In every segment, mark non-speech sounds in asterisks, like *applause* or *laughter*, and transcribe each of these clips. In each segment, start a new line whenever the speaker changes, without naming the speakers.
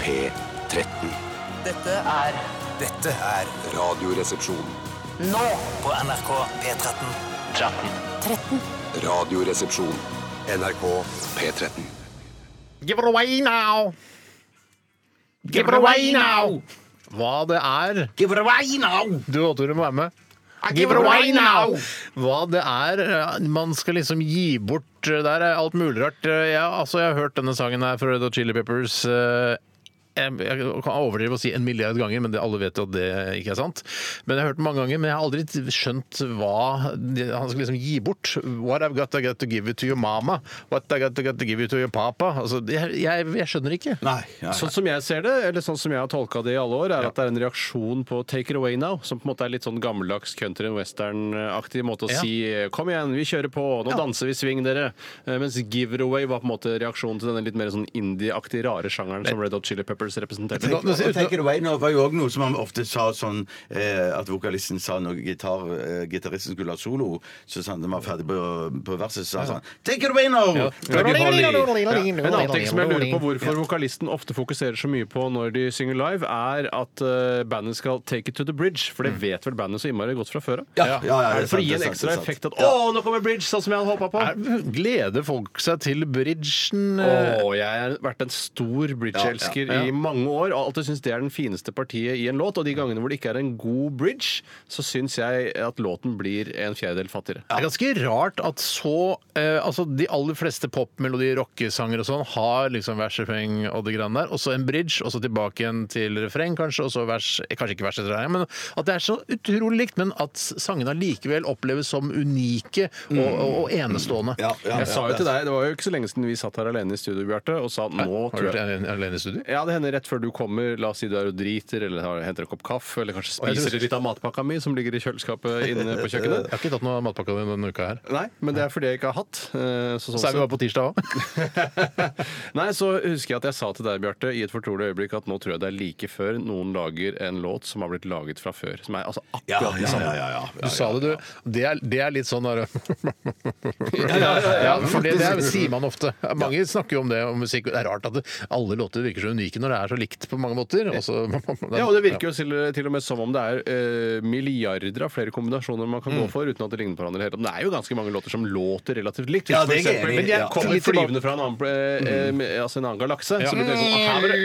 P13.
Dette er
Dette er
Radioresepsjon.
nå
på NRK P13.
13.
Radioresepsjon. NRK P13.
Give it away now! Give it away now! Hva det er
Give it away now!
Du og Tore må være med.
give it away now!
Hva det er eh, man skal liksom gi bort. eh, Der er alt mulig rart. Eh, Jeg, altså, jeg har hørt denne sangen her fra Red Hot Chili Peppers. eh, Jeg jeg kan overdrive og si en milliard ganger, men det, alle vet jo at det ikke er sant. Men Jeg har hørt den mange ganger, men jeg har aldri t- skjønt hva de- han skal liksom gi bort. What I've got, I got to give it to your mama. What I got, I got to give it to your papa. Altså, jeg, jeg, jeg skjønner ikke.
Nei, ja.
Sånn som jeg ser det, eller sånn som jeg har tolka det i alle år, er at det er en reaksjon på Take It Away Now, som på en måte er litt sånn gammeldags country and western-aktig måte å
Ja.
si eh, kom igjen, vi kjører på, nå danser vi sving, dere. Eh, Mens Give It Away var på en måte reaksjonen til denne litt mer sånn indie-aktig rare sjangeren som Red Hot Chili Peppers representerte.
Nå- nå-
Og Take It Away Now var jo òg noe som han ofte sa sånn eh, At vokalisten sa når gitar, eh, gitaristen skulle ha solo, så sa han den var ferdig på, på verset, så sa han sånn Take It Away Now! Buddy Holly.
Ja. En annen ting som jeg lurer på hvorfor vokalisten ofte fokuserer så mye på når de synger live, er at eh, bandet skal take it to the bridge, for det vet vel bandet så innmari godt fra før av.
Mm. Ja, ja, ja, det
er det for å
sant,
gi en
det er sant,
ekstra
det er sant.
effekt at 'Å, nå kommer bridge', sånn som jeg hadde håpa på?
Er, gleder folk seg til bridgen? eh?
Åh, jeg har vært en stor bridge-elsker
Ja, ja, ja.
i mange år og alltid syns det er den fineste partiet i en låt. Og de gangene hvor det ikke er en god bridge, så syns jeg at låten blir en fjerdedel fattigere.
Det er ganske rart at så eh, altså De aller fleste popmelodier, rockesanger og sånn, har liksom versefeng og det grann der, og så en bridge, og så tilbake igjen til refreng, kanskje, og så vers eh, Kanskje ikke vers etter refreng, men at det er så utrolig likt, men at sangene allikevel oppleves som unike og,
Mm.
og, og enestående.
Ja, ja,
Jeg sa jo
ja,
til deg, Det var jo ikke så lenge siden vi satt her alene i studio, Bjarte, og sa nå
Har du
tror
vært
jeg
alene- alene i studio?
ja, Det hender rett før du kommer. La oss si du er og driter, eller har, henter en kopp kaffe, eller kanskje spiser litt av matpakka mi som ligger i kjøleskapet inne på
Jeg
*laughs* kjøkkenet.
har ikke tatt noe av matpakka di denne uka her.
Nei, men det er fordi jeg ikke har hatt. eh, Så
Så
sånn
er vi
sett-
bare på tirsdag òg.
*laughs* Nei, så husker jeg at jeg sa til deg, Bjarte, i et fortrolig øyeblikk at nå tror jeg det er like før noen lager en låt som har blitt laget fra før. Som er altså akkurat
Ja,
den
ja,
samme.
ja, ja, ja.
Du sa det, du. Det er, det er litt sånn der *laughs* Ja, for det, det er, sier man ofte. Mange snakker jo om det om musikk. Det er rart at det, alle låter virker så unike når det er så likt på mange måter. og så-
Ja, og det virker jo til, til og med som om det er eh, milliarder av flere kombinasjoner man kan gå for uten at det ligner på hverandre. i det hele tatt. Det er jo ganske mange låter som låter relativt likt. Hvis
Ja,
for
det er jeg
eksempel-
enig i,
Men jeg
ja.
kommer
Litt tilbake-
flyvende fra en annen, eh, eh, med- altså en annen galakse.
Ja.
Så blir det sånn, «Å, her var det,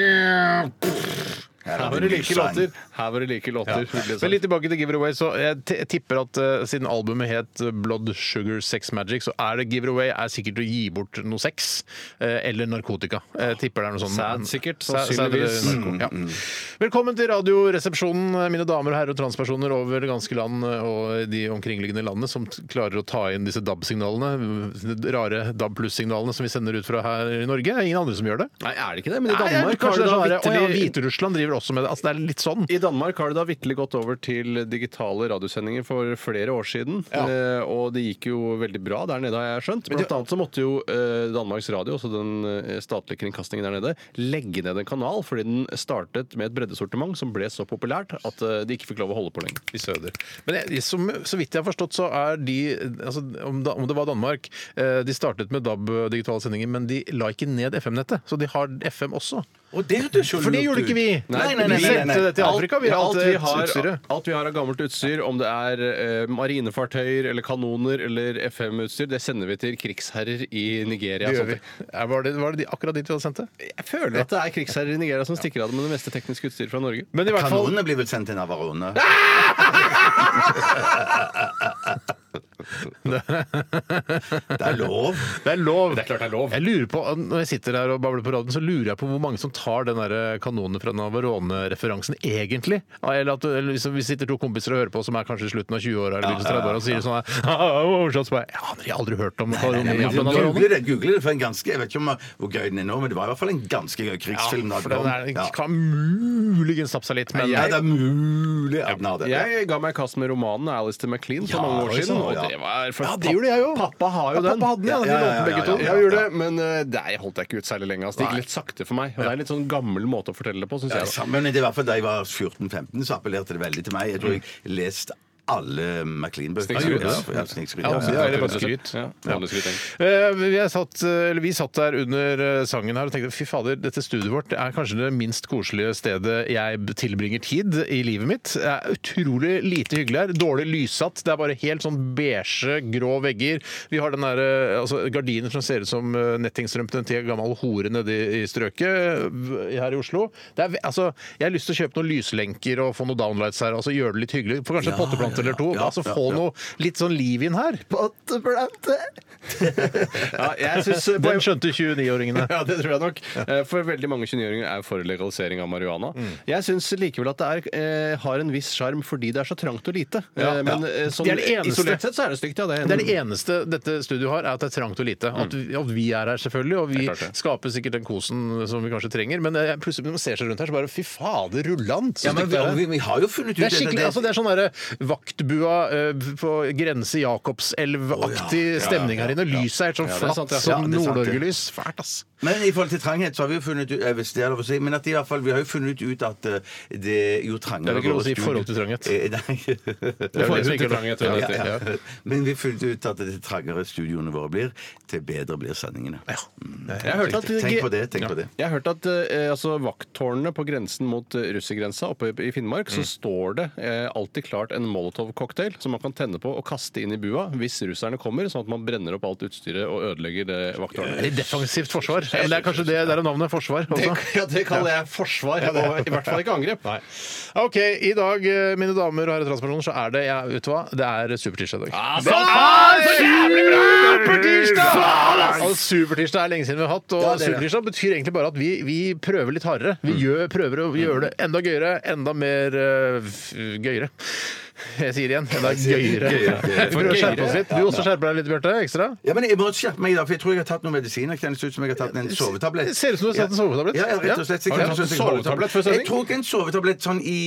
her
Mm.
var det like låter. Her var det like låter. Blir det
Men
sånn.
litt tilbake til Giveaway. Så jeg t tipper at eh, siden albumet het Blood Sugar Sex Magic, så er det Giveaway er sikkert å gi bort noe sex eh, eller narkotika. Jeg tipper det er noe sånn
Sad sikkert,
Sad- sad eller
sannsynligvis. Mm.
narko- ja. Velkommen til Radioresepsjonen, eh, mine damer og herrer og transpersoner over det ganske land eh, og de omkringliggende landene som t- klarer å ta inn disse DAB-signalene, de rare DAB pluss-signalene som vi sender ut fra her i Norge. Det er ingen andre som gjør det.
Nei, er det ikke det? Men i
Nei,
Danmark har
kanskje
det
det er
da
sånn derre, «Å ja,
vitterlig
Hviterussland driver også med det. Altså, det er litt sånn.
I Danmark har det da vitterlig gått over til digitale radiosendinger for flere år siden. Eh, og det gikk jo veldig bra der nede, har jeg skjønt. Blant annet så måtte jo eh, Danmarks Radio, altså den eh, statlige kringkastingen der nede, legge ned en kanal fordi den startet med et breddesortiment som ble så populært at eh, de ikke fikk lov å holde på lenger.
i søder. Men jeg, som, så vidt jeg har forstått, så er de altså, om, da, om det var Danmark eh, De startet med DAB, digitale sendinger, men de la ikke ned FM-nettet. Så de har FM også.
Og det hørtes jo
For det
lurt
gjorde
ut.
ikke vi!
Nei, nei, nei,
vi
nei,
sendte
nei,
det til Afrika, vi.
ja, alt, vi har,
utstyret.
alt vi har av gammelt utstyr, om det er eh, marinefartøyer eller kanoner eller FM-utstyr, det sender vi til krigsherrer i Nigeria.
Det gjør vi.
sånt.
Er- Var det, var det de, akkurat dit vi hadde sendt det?
Jeg føler at det er krigsherrer i Nigeria som stikker av med det meste tekniske utstyret fra Norge.
Men i hvert fall
Kanonene blir vel sendt til Navarone. Det er lov.
Det er lov.
Det er klart det er lov.
Jeg lurer på, Når jeg sitter her og babler på radioen, så lurer jeg på hvor mange som tar den der kanonen fra Navarone-referansen egentlig. Eller at eller hvis vi sitter to kompiser og hører på som er kanskje i slutten av 20-åra eller begynnelsen av 30-åra, og sier sånn her «Ah, oversatt», så bare, Jeg aner, jeg har aldri hørt om kanonen
Nei, men
fra
Google
Navarone.
det, Google det for en ganske Jeg vet ikke om, hvor gøy den er nå, men det var i hvert fall en ganske gøy krigsfilm. da
For den er,
kom. Ja.
kan muligens tappe seg litt, men
Nei, det er mulig at den har det.
Jeg ga meg i kast med romanen av Alistair McLean for
Ja,
mange år
oi,
siden.
sånn, ja.
Og det var for
Ja, det gjorde jeg jo.
Pappa har jo
Ja,
den.
pappa hadde den, ja, vi lånte
begge to.
Jeg gjorde det, men eh, der holdt jeg ikke ut særlig lenge. Altså. Det gikk litt sakte for meg. Og det er en litt sånn gammel måte å fortelle det på, syns
Ja,
jeg.
sammen, men det er i hvert fall Da jeg var 14-15, så appellerte det veldig til meg. Jeg tror jeg leste alle McLean-bøker.
Snikskryt,
Ja,
ja.
ja, snikskryt,
Ja,
ja,
også,
ja,
det er
ja.
faktisk skryt.
Ja, vanlig skryt,
Eh, Vi, er satt, eh, eller vi satt der under eh, sangen her og tenkte fy fader, dette studioet vårt er kanskje det minst koselige stedet jeg tilbringer tid i livet mitt. Det er utrolig lite hyggelig her. Dårlig lyssatt. Det er bare helt sånn beige, grå vegger. Vi har den der, eh, altså, gardiner som ser ut som eh, nettingstrømpen til en gammel hore nede i- i strøket eh, her i Oslo. Det er, ve- altså, jeg har lyst til å kjøpe noen lyslenker og få noen downlights her. altså Gjøre det litt hyggelig. Få kanskje en potteplante eller to. altså Få noe litt sånn liv inn her.
Ja, jeg synes, eh,
Den skjønte 29-åringene.
*laughs* Ja, det tror jeg nok. Eh, For veldig mange 29-åringer er for legalisering av marihuana. Jeg syns likevel at det er, eh, har en viss sjarm fordi det er så trangt og lite. Eh,
Ja.
Men
Ja.
eh, sånn,
Det er det eneste.
isolert sett så er det stygt, ja. Det er
Det er det eneste dette studioet har, er at det er trangt og lite. At vi, at vi er her, selvfølgelig, og
Det
vi
er klart det.
skaper sikkert den kosen som vi kanskje trenger, men jeg, plutselig når man ser seg rundt her, så bare fy fader, rullan! Så
Ja, men
stygt
vi,
det er.
vi, vi har jo funnet ut
Det er skikkelig, altså det er sånn derre vaktbua eh, på grense Jakobselv-aktig stemning her inne. Lyset er helt sånn
er sant,
flatt
ja.
som
Ja, det er sant, det.
Nord-Norge-lys. Fælt, ass.
Men i forhold til tranghet, så har vi jo funnet ut eh, hvis det er lov å si, men at i hvert fall, vi har jo funnet ut at eh, det jo trangere
Det er vel ikke lov å
våre
si i forhold til
studio-
tranghet.
Eh, Nei.
*laughs* Det
det som ikke er lov.
trangt, tror jeg,
Ja,
dette.
Men vi har funnet ut at det trangere studioene våre blir, til bedre blir sendingene.
Jeg har hørt at
Tenk på det. tenk på det.
Jeg har hørt at eh, altså, vakttårnene på grensen mot eh, russergrensa oppe i Finnmark, så står det eh, alltid klart en Molotov-cocktail som man kan tenne på og kaste inn i bua hvis russerne kommer, sånn at man brenner opp alt utstyret og ødelegger det vakttårnet.
*laughs* Eller defensivt forsvar. Eller det er kanskje det der er navnet, forsvar.
Det,
Også.
ja, det kaller jeg forsvar, og i hvert fall ikke angrep.
OK, i dag, eh, mine damer og herrer transpersoner, så er det ja, vet du hva, det er supertirsdag i dag.
Det er
Supertirsdag! Og supertirsdag er lenge siden vi har hatt. Og
Ja, det Mm. er det.
supertirsdag betyr egentlig bare at vi, vi prøver litt hardere. Vi gjør, prøver å gjøre det enda gøyere, enda mer eh, f- gøyere. Jeg sier det igjen enda gøyere.
Gøyere, gøyere.
For å skjerpe oss litt. Du også skjerper deg litt, Bjarte? Ekstra?
Ja, men Jeg må skjerpe meg, i dag, for jeg tror jeg har tatt noen medisiner. Kjennes ut som jeg har tatt en sovetablett.
Det ser ut som du har tatt en sovetablett.
Ja, ja, rett og slett.
Ja.
Jeg,
Har du
jeg,
tatt en sovetablett før sending?
jeg tok en sovetablett sånn i,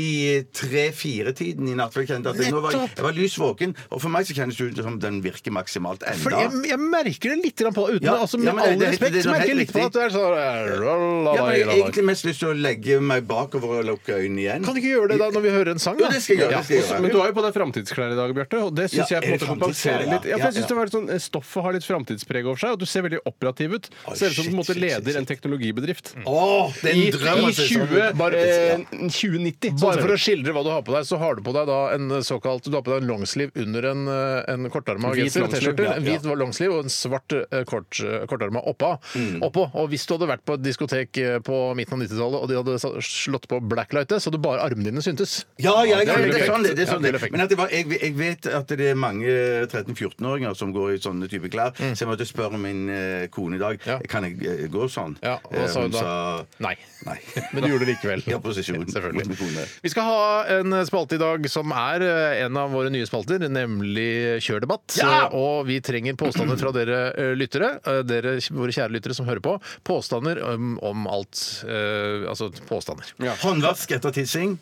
i tre-fire-tiden i natt. For jeg kjente at jeg, nå var, jeg- jeg var lys våken, og for meg så kjennes det ut som den virker maksimalt
For
enda.
jeg, jeg merker det litt grann på deg. Uten,
Ja,
altså, med
ja, men det-
all
det- det-
respekt
det er
så merker jeg
helt
litt på at du er eh,
Ja, men jeg har
sånn
egentlig mest lyst til å legge meg bakover og lukke øynene igjen.
Kan du ikke gjøre det da når vi hører en sang?
Jo,
da?
det skal
Ja.
jeg gjøre. det skal jeg
Også-
gjøre.
Men du har jo på deg framtidsklær i dag, Bjarte. Og det syns jeg
Ja,
på en
er det
måte kompenserer
framtidsklær, ja?
litt. Ja, for jeg
Ja,
synes det var litt sånn, eh, Stoffet har litt framtidspreg over seg, og du ser veldig operativ ut. Ser ut som du på en
shit,
måte
shit, shit,
leder en teknologibedrift.
Åh, det er
I, i
en drøm å se sånn ut.
20,
Bare-
eh, 2090. sånn
Bare
ser
for å
det ut.
skildre hva du har på deg, så har du på deg da en såkalt Du har på deg en longsleeve under en, eh, en kortarma
Hvit
genser.
longsleeve,
T-skjorte.
ja,
En hvit longsleeve og en svart eh, kort, eh, kortarma oppa,
Mm.
oppå. Og hvis du hadde vært på et diskotek eh, på midten av 90-tallet, og de hadde sa- slått på blacklightet, så hadde bare armene dine syntes.
Ja, ja, ja,
Ja, det er
det er sånn det. det,
effekt.
er sånn
Ja,
det.
det er effekt.
Men at det var, jeg, jeg vet at det er mange 13-14-åringer som går i sånne type klær, så jeg måtte spørre min eh, kone i dag
Mm. Ja.
kan jeg eh, gå sånn.
Ja, og hva
Eh,
sa hun da? Nei. *laughs*
Nei.
Men du gjorde det likevel.
Ja, posisjon mot min kone.
Vi skal ha en spalte i dag som er eh, en av våre nye spalter, nemlig Kjørdebatt. Eh, Og vi trenger påstander fra dere eh, lyttere, eh, dere våre kjære lyttere som hører på. Påstander om, om alt. eh, Altså påstander.
Håndvask etter tissing.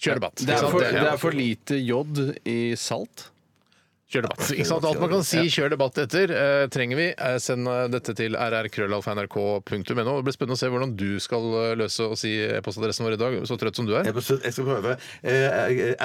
Kjørdebatt.
Det
ikke
er
sant?
for,
Det er-
det er for lite jod i salt.
Kjør debatt. Ikke sant? Alt man kan si 'kjør debatt' etter, eh, trenger vi. Eh, send eh, dette til rrkrøllalfa.nrk.no. Det blir spennende å se hvordan du skal eh, løse å si e-postadressen vår i dag, så trøtt som du er.
Jeg, får- jeg skal prøve. Eh,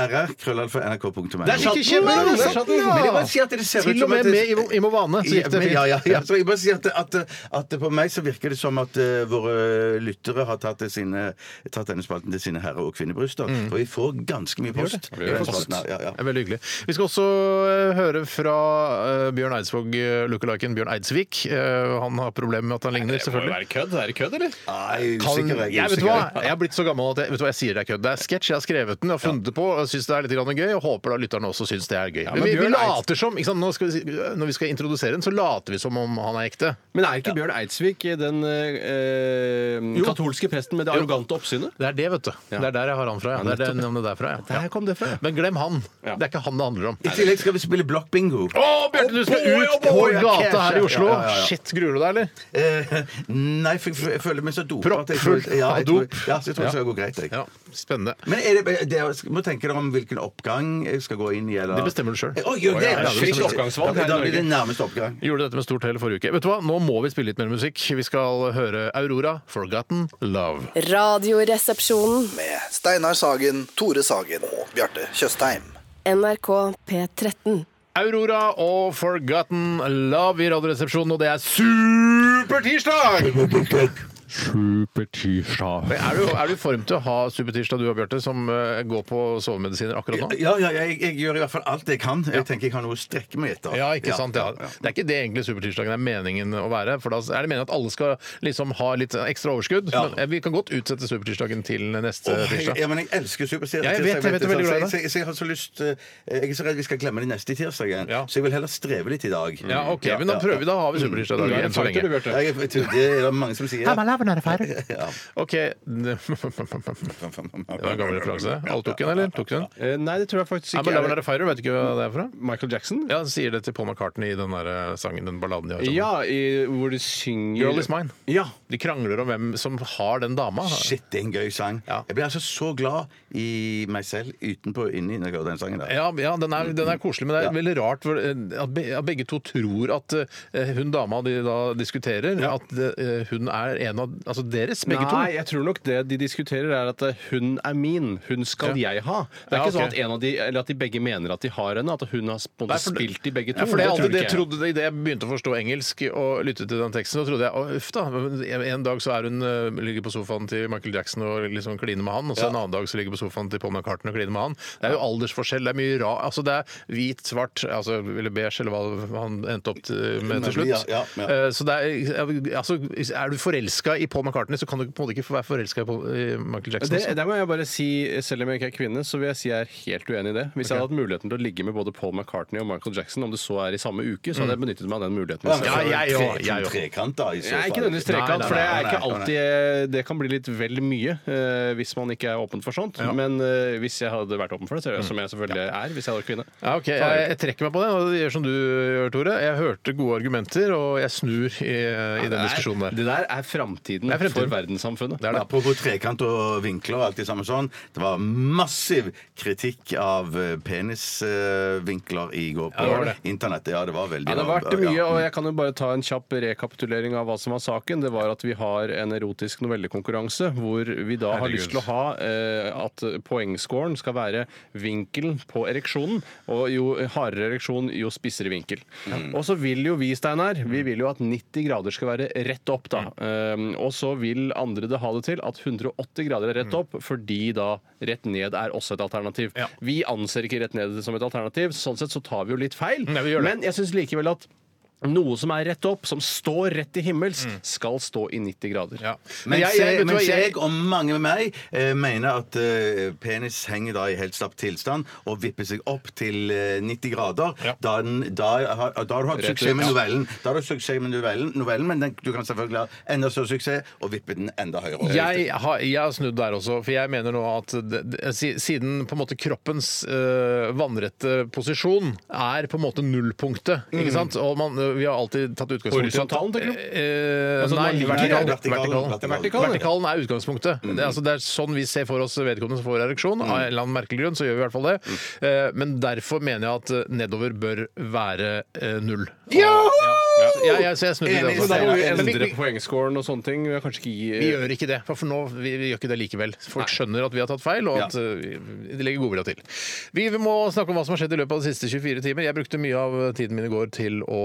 RR, krøllalfa, nrk.no.
Der satt den!
kjempebra,
Der
det er
satt
sant,
den!
Men jeg bare sier at det ser ut
altså, Til
som
og med
at det-
med Ivo- Imo Vane, så gikk det
Men- Ja, ja,
fint.
ja. Så jeg bare sier at, at, at det på meg så virker det som at eh, våre lyttere har tatt, det sine, tatt denne spalten til sine herre- og kvinnebryster.
Mm.
For vi får ganske mye post.
Vi gjør det.
Post. Ja, ja.
Det er veldig hyggelig. Vi skal også eh, høre fra eh, Bjørn Eidsvåg, eh, lookaliken Bjørn Eidsvik. Eh, han har problemer med at han ligner, selvfølgelig.
være kødd. Er det kødd, eller?
Nei, jeg er
Han,
usikker, jeg.
jeg,
er
vet du hva?
usikker.
jeg har blitt så gammel at jeg, vet du hva, jeg sier det er kødd. Det er sketsj. Jeg har skrevet den, jeg har funnet det på og syns det er litt grann gøy. Og håper da lytterne også syns det er gøy.
men
vi, vi
Bjørn Eids-
later som, ikke sant? Nå skal vi, si- Når vi skal introdusere den, så later vi som om han er ekte.
Men er ikke Bjørn Eidsvik den eh, eh, katolske presten med det arrogante oppsynet?
Det er det, vet du. Det er der jeg har han fra. Ja. Det er det navnet derfra, ja.
Der kom det fra.
Men glem han.
Ja.
Det er ikke han det handler om.
I tillegg skal vi spille blokkbingo.
Å, Bjarte, du skal
Boy,
ut
oh,
på
boy, jeg
gata
casher.
her i Oslo!
Ja, ja, ja.
Shit, gruer du deg, eller?
Eh, nei, for jeg, jeg føler meg så dopa. at jeg tror-
Proppfullt
Ja,
av
jeg tror,
dop.
ja, så jeg tror det
Ja.
skal gå greit. Jeg.
Ja, spennende.
Men er det, det, jeg må tenke dere om hvilken oppgang jeg skal gå inn i. Eller?
Det bestemmer du selv.
Eh, å, gjør det?
ja, det er fritt oppgangsvalg her i
Da blir
Norge.
det nærmeste oppgang.
Vi gjorde dette med stort hell forrige uke. Vet du hva, Nå må vi spille litt mer musikk. Vi skal høre Aurora, 'Forgotten Love'.
Radioresepsjonen.
med Steinar Sagen, Tore Sagen og Bjarte Tjøstheim.
NRK P13.
Aurora og Forgotten Love i Radioresepsjonen, og det er supertirsdag!
Supertirsdag.
Er du, er du i form til å ha supertirsdag, du og Bjarte, som eh, går på sovemedisiner akkurat nå?
Ja, ja, jeg, jeg gjør i hvert fall alt jeg kan. Jeg tenker jeg har noe å strekke meg etter.
Ja, ikke sant? Ja. Det er ikke det egentlig supertirsdagen er meningen å være. For da er det meningen at alle skal liksom ha litt ekstra overskudd.
Ja.
Men eh, vi kan godt utsette supertirsdagen til neste
Åh, jeg,
tirsdag.
ja, men jeg elsker superstjerner.
Ja, jeg vet- jeg vet du er veldig glad i det.
Så jeg, så jeg har så lyst eh, Jeg er så redd vi skal glemme det neste tirsdag igjen,
Ja.
så jeg vil heller streve litt i dag.
Ja, ok, men da prøver vi. Da har vi supertirsdag i dag enn så lenge.
Ja, jeg, jeg tror det er det mange som sier. *laughs* Ja.
Ok *laughs* Det var en gammel referanse. Alle tok den, eller? Tok den?
Eh, Nei, det tror jeg faktisk
Ja,
ikke.
men Love
Er
Letter
det
Fire, vet du ikke hva det er fra?
Michael Jackson?
Ja, han sier det til Paul McCartney i den der eh, sangen, den balladen de har. sammen.
Ja, i, hvor de synger
Girl is mine.
Ja.
De krangler om hvem som har den dama.
Shit, det er en gøy sang.
Ja.
Jeg ble altså så glad i meg selv utenpå og inni når jeg hørte den sangen. der
Ja, ja den, er, den er koselig, men det er veldig rart for, eh, at, be, at begge to tror at eh, hun dama de da diskuterer, at eh, hun er en av Altså deres, begge
Nei, jeg tror nok det de diskuterer, er at eh, hun er min, hun skal jeg ha. Det er
Ja,
ikke
ok.
sånn at, en av de, eller at de begge mener at de har henne, at hun har på en
Nei,
måte
for det-
spilt i begge
to. Ja,
to.
for det, er alltid,
tror
det
ikke jeg.
trodde Idet jeg begynte å forstå engelsk og lyttet til den teksten, så trodde jeg «Å, uff da, en dag så er hun, eh, ligger på sofaen til Michael Jackson og liksom kliner med han, og så en annen dag så ligger hun på sofaen til Paul McCartney og kliner med han. Det er jo aldersforskjell, det er mye ra... Altså det er hvit, svart, altså, eller beige, eller hva han endte opp til- eh, med til
Ja,
slutt.
ja, ja.
Eh, Så det er, altså, er du forelska i Paul McCartney, så kan du på en måte ikke få være forelska i Paul- i Michael Jackson.
Det,
også.
der må jeg bare si, selv om jeg ikke er kvinne, så vil jeg si jeg er helt uenig i det. Hvis jeg hadde hatt muligheten til å ligge med både Paul McCartney og Michael Jackson, om det så er i samme uke, så hadde jeg benyttet meg av den muligheten.
Ja, men
Hvis jeg-
Mm. Ja,
så er det
jeg
tre- sånn
òg, jeg òg.
Trekant, da, i så
Jeg er ikke
fall.
nødvendigvis trekant,
Nei, nei,
for det er
nei,
ikke
nei, nei.
alltid eh, Det kan bli litt vel mye eh, hvis man ikke er åpen for sånt. Men eh, hvis jeg hadde vært åpen for det, så er det som jeg selvfølgelig er hvis jeg hadde vært kvinne.
Mm. Ja, ok, jeg, jeg trekker meg på det og gjør som du gjør, Tore. Jeg hørte gode argumenter, og jeg snur i, i den diskusjonen der.
Det der er framtiden,
Det er fremtiden.
for verdenssamfunnet.
Det er det.
Apropos trekant og vinkler og alt det samme sånn. Det var massiv kritikk av eh, penisvinkler i går på
Ja, det var det.
internett. Ja, det var veldig
Ja, det har vært
ja.
mye,
mm.
og jeg kan jo bare ta en kjapp rekapitulering av hva som var saken. Det var at vi har en erotisk novellekonkurranse hvor vi da har
Herregud.
lyst til å ha eh, at poengscoren skal være vinkelen på ereksjonen. Og jo hardere ereksjon, jo spissere vinkel.
Mm.
Og så vil jo vi, Steinar, vi vil jo at 90 grader skal være rett opp, da.
Mm.
Eh, og så vil andre det ha det til at 180 grader er rett opp, fordi da rett ned er også et alternativ.
Mm. Ja.
Vi anser ikke rett ned som et alternativ, sånn sett så tar vi jo litt feil.
Nei, vi gjør det.
Men jeg syns likevel at noe som er rett opp, som står rett til himmels, skal stå i 90 grader.
Ja.
Mens jeg,
vet du hva,
mens jeg og mange med meg eh, mener at eh, penis henger da i helt slapp tilstand og vipper seg opp til eh, 90 grader.
Ja.
Da, den, da, har- da har du hatt
Rett
suksess
ut.
med novellen, Da har du suksess med novellen, novellen men den, du kan selvfølgelig ha enda større suksess og vippe den enda høyere. opp.
jeg har, jeg har snudd der også, for jeg mener nå at det, det, si- siden på en måte kroppens eh, vannrette posisjon er på en måte nullpunktet, ikke sant? Og man, eh, vi har alltid tatt utgangspunkt i at-
Mm. Horisontalen, tenker du?
Eh,
Altså,
nei,
man ligger-
vertikalen.
Vertikalen,
Vertikalen.
vertikalen.
Vertikalen er utgangspunktet. Det, er altså, det er sånn vi ser for oss vedkommende som får ereksjon.
Mm.
Av en eller annen merkelig grunn så gjør vi i hvert fall det. Eh, men derfor mener jeg at eh, nedover bør være eh, null. Ja, ja, ja, så jeg snudde
Enig i
det
Så
også.
da må vi
Men vi-
endre
vi-
poengscoren og sånne ting. Vi har kanskje ikke gi
vi gjør ikke det, for, for nå vi, vi gjør ikke det likevel. Folk skjønner at vi har tatt feil, og at eh, vi- de legger godvilja til. Vi må snakke om hva som har skjedd i løpet av de siste 24 timer. Jeg brukte mye av tiden min i går til å